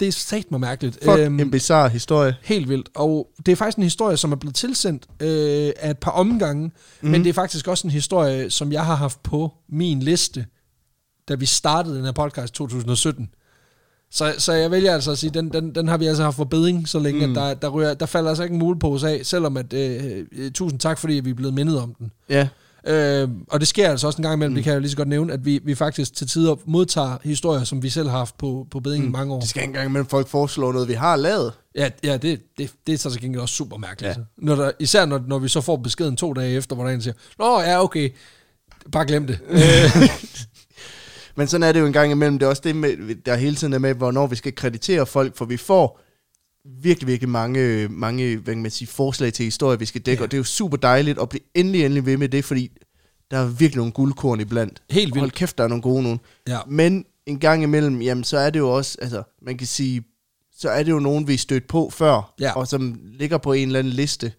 Speaker 2: Det er sat mig mærkeligt. Øhm,
Speaker 1: Fuck, en bizarre historie.
Speaker 2: Helt vildt. Og det er faktisk en historie, som er blevet tilsendt øh, af et par omgange, mm. men det er faktisk også en historie, som jeg har haft på min liste, da vi startede den her podcast i 2017. Så, så jeg vælger altså at sige, den, den, den har vi altså haft for beding, så længe mm. at der, der, ryger, der falder altså ikke en mulepose af, selvom at, øh, øh, tusind tak, fordi vi er blevet mindet om den.
Speaker 1: Ja.
Speaker 2: Øh, og det sker altså også en gang imellem, mm. det kan jeg jo lige så godt nævne, at vi, vi faktisk til tider modtager historier, som vi selv har haft på, på beding mm. i mange år.
Speaker 1: Det skal ikke engang imellem folk foreslår noget, vi har lavet.
Speaker 2: Ja, ja det, det, det er så til gengæld også super mærkeligt. Ja. Når der, især når, når vi så får beskeden to dage efter, hvor der er en der siger, Nå ja, okay, bare glem det.
Speaker 1: Men sådan er det jo en gang imellem. Det er også det, med, der hele tiden er med, hvornår vi skal kreditere folk, for vi får virkelig, virkelig mange, mange hvad kan man sige, forslag til historier, vi skal dække, ja. og det er jo super dejligt at blive endelig, endelig ved med det, fordi der er virkelig nogle guldkorn iblandt.
Speaker 2: Helt vildt.
Speaker 1: Hold kæft, der er nogle gode nogen.
Speaker 2: Ja.
Speaker 1: Men en gang imellem, jamen, så er det jo også, altså, man kan sige, så er det jo nogen, vi er stødt på før,
Speaker 2: Ja.
Speaker 1: og som ligger på en eller anden liste.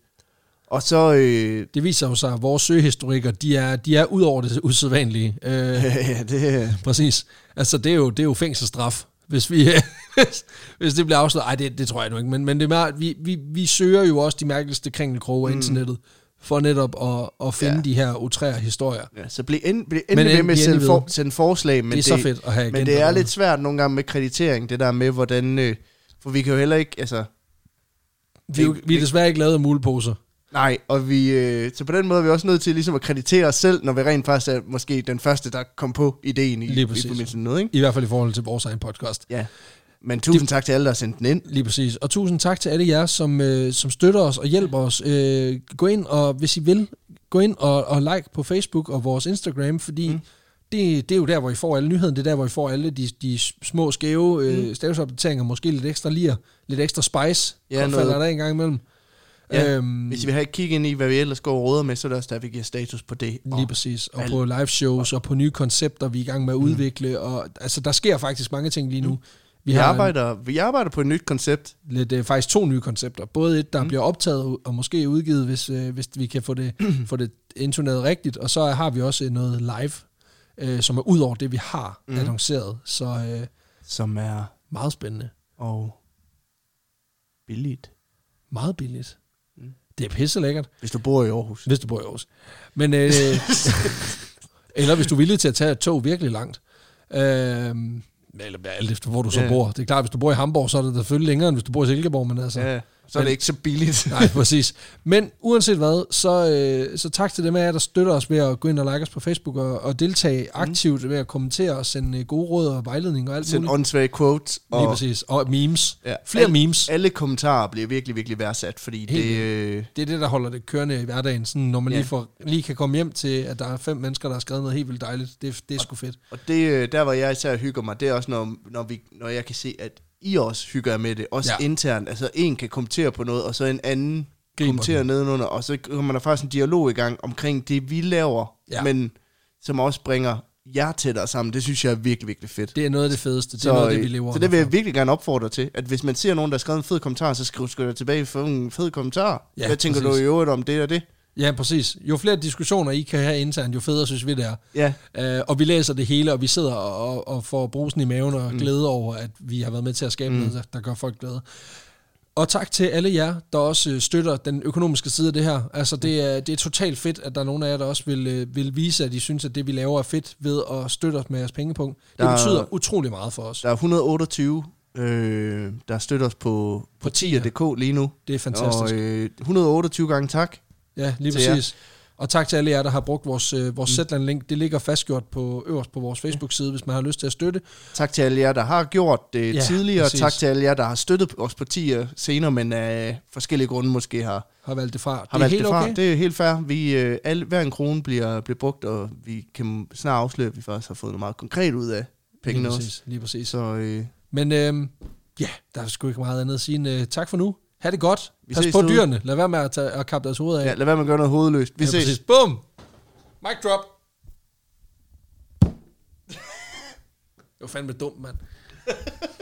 Speaker 1: Og så, øh, *laughs*
Speaker 2: det viser jo sig, at vores søgehistorikere, de er, de er ud over det usædvanlige. Øh,
Speaker 1: ja, det,
Speaker 2: præcis. Altså, det er jo, det er jo fængselsstraf, hvis vi... *laughs* hvis- hvis det bliver afsløret. Ej, det, det tror jeg nu ikke, men, men det er mere, at vi, vi, vi søger jo også de mærkeligste kringelkroge af internettet, for netop at, at finde
Speaker 1: Mm. Ja.
Speaker 2: ja. de de her utrære historier.
Speaker 1: Ja, så bliv, end, bliv endelig ved
Speaker 2: end-
Speaker 1: med at
Speaker 2: bliv
Speaker 1: sende,
Speaker 2: endelig
Speaker 1: for,
Speaker 2: ved.
Speaker 1: sende forslag. Men
Speaker 2: Det er så fedt at have
Speaker 1: Men
Speaker 2: agenter
Speaker 1: det er
Speaker 2: derude.
Speaker 1: lidt svært nogle gange med kreditering, det der med, hvordan... Øh, for vi kan jo heller ikke... Altså,
Speaker 2: Vi, er jo- vi er desværre ikke lavet af muleposer.
Speaker 1: nej, og vi... Øh, så på den måde er vi også nødt til ligesom at kreditere os selv, når vi rent faktisk er måske den første, der kom på ideen i,
Speaker 2: Lige
Speaker 1: i
Speaker 2: præcis.
Speaker 1: forbindelse med noget, ikke?
Speaker 2: I hvert fald i forhold til vores egen podcast.
Speaker 1: Ja. Men tusind det... tak til alle, der har sendt den ind.
Speaker 2: Lige præcis. Og tusind tak til alle jer, som, øh, som støtter os og hjælper os. Øh, gå ind og, hvis I vil, gå ind og, og like på Facebook og vores Instagram, fordi mm. det, det er jo der, hvor I får alle nyheden. Det er der, hvor I får alle de, de små skæve øh, stavsopdateringer, måske lidt ekstra lir, lidt ekstra spice,
Speaker 1: Mm. Ja,
Speaker 2: ja,
Speaker 1: noget-
Speaker 2: falder der en gang imellem.
Speaker 1: Ja,
Speaker 2: øhm,
Speaker 1: Hvis vi har ikke kigget ind i, hvad vi ellers går og råder med, så er det også der, vi giver status på det. Og
Speaker 2: Lige præcis. Og
Speaker 1: alt. Mm.
Speaker 2: på live shows og på nye koncepter, vi er i gang med at udvikle. Og, altså, der sker faktisk mange ting lige nu.
Speaker 1: vi,
Speaker 2: har en-
Speaker 1: arbejder, vi arbejder på et nyt koncept.
Speaker 2: lidt, øh, faktisk to nye koncepter. Både et, der mm. bliver optaget og måske udgivet, hvis, øh, hvis vi kan få *clears throat* det, få det intoneret rigtigt. Og så har vi også noget live, øh, som er ud over det, vi har mm. annonceret. Så øh,
Speaker 1: som er
Speaker 2: meget spændende.
Speaker 1: og billigt.
Speaker 2: Meget billigt. Mm. Det er pisse lækkert,
Speaker 1: Hvis du bor i Aarhus.
Speaker 2: hvis du bor i Aarhus. Men, *laughs* øh, eller hvis du er villig til at tage et tog virkelig langt. Øh, eller alt efter, hvor du så
Speaker 1: Ja.
Speaker 2: bor. Det er klart, hvis du bor i Hamburg, så er det selvfølgelig længere, end hvis du bor i Silkeborg. Men altså,
Speaker 1: Ja, så er det
Speaker 2: Men-
Speaker 1: ikke så
Speaker 2: *laughs*
Speaker 1: billigt.
Speaker 2: Nej, præcis. Men uanset hvad, så, øh, så tak til dem af jer, der støtter os ved at gå ind og like os på Facebook og, og deltage aktivt ved at kommentere og sende øh, gode råd og vejledning og alt
Speaker 1: Mhm. Send
Speaker 2: muligt.
Speaker 1: åndssvage quotes. Og
Speaker 2: Lige præcis. Og memes.
Speaker 1: Ja.
Speaker 2: Flere
Speaker 1: Al-
Speaker 2: memes.
Speaker 1: Alle kommentarer bliver virkelig, virkelig værdsat, fordi
Speaker 2: Helt
Speaker 1: det... Øh,
Speaker 2: Det er det, der holder det kørende i hverdagen, sådan, når man
Speaker 1: Ja.
Speaker 2: lige, får, lige kan komme hjem til, at der er fem mennesker, der har skrevet noget helt vildt dejligt. Det, det er sgu fedt.
Speaker 1: og det, øh, der, hvor jeg især hygger mig, det er også, når, når, vi, når jeg kan se, at I også hygger jer med det. Også
Speaker 2: Ja.
Speaker 1: ja. internt. Altså, en kan kommentere på noget, og så en anden
Speaker 2: Griber
Speaker 1: Griber kommenterer nedenunder. Og så kommer der faktisk en dialog i gang omkring det, vi laver.
Speaker 2: Ja.
Speaker 1: Men som også bringer jer tættere sammen. Det synes jeg er virkelig, virkelig fedt.
Speaker 2: Det er noget af det fedeste. Det er noget af det, vi
Speaker 1: øh,
Speaker 2: lever
Speaker 1: Så det vil
Speaker 2: under.
Speaker 1: jeg virkelig gerne opfordre til, at hvis man ser nogen, der har skrevet en fed kommentar, så skriv sgu da tilbage for en fed kommentar.
Speaker 2: Ja,
Speaker 1: Ja, Hvad tænker
Speaker 2: præcis.
Speaker 1: du i øvrigt om det og det?
Speaker 2: Ja, præcis. Jo flere diskussioner I kan have internt, jo federe synes vi, det er.
Speaker 1: Ja,
Speaker 2: Øh, og vi læser det hele, og vi sidder og, og, og får brusen i maven og mm. glæde over, at vi har været med til at skabe mm. noget, der, der gør folk glade. Og tak til alle jer, der også øh, støtter den økonomiske side af det her. Altså, det er, det er totalt fedt, at der er nogen af jer, der også vil, øh, vil vise, at I synes, at det, vi laver, er fedt ved at støtte os med jeres pengepunkt. Det
Speaker 1: Der er-
Speaker 2: betyder utrolig meget for os.
Speaker 1: der er 128, øh, der støtter os på, på 10.dk lige nu.
Speaker 2: Det er fantastisk.
Speaker 1: Og øh, 128 gange tak.
Speaker 2: Ja, lige
Speaker 1: til jer. Mm.
Speaker 2: præcis. Og tak til alle jer, der har brugt vores, øh, vores Zetland-link. Det ligger fastgjort på øverst på vores Facebook-side, hvis man har lyst til at støtte.
Speaker 1: Tak til alle jer, der har gjort det
Speaker 2: Ja,
Speaker 1: ja, tidligere.
Speaker 2: præcis.
Speaker 1: Præcis. Tak til alle jer, der har støttet os på 10'er senere, men af forskellige grunde måske har,
Speaker 2: Har valgt det fra.
Speaker 1: har
Speaker 2: det er
Speaker 1: valgt
Speaker 2: helt
Speaker 1: det fra.
Speaker 2: okay.
Speaker 1: Det er helt fair. Vi, øh, alle, hver en krone bliver, bliver brugt, og vi kan snart afsløre, at vi faktisk har fået noget meget konkret ud af pengene
Speaker 2: lige
Speaker 1: også.
Speaker 2: præcis, lige præcis.
Speaker 1: Så øh,
Speaker 2: Men øhm, ja, der er sgu ikke meget andet at sige end, øh, tak for nu. Ha' det godt.
Speaker 1: Vi
Speaker 2: Pas
Speaker 1: ses
Speaker 2: på
Speaker 1: derude.
Speaker 2: dyrene. Lad være med at, tage, at kappe deres hoveder af.
Speaker 1: ja, lad være med at gøre noget hovedløst. Vi ja, ses.
Speaker 2: præcis. Bum! Mic drop. *laughs* Det var fandme dumt, mand.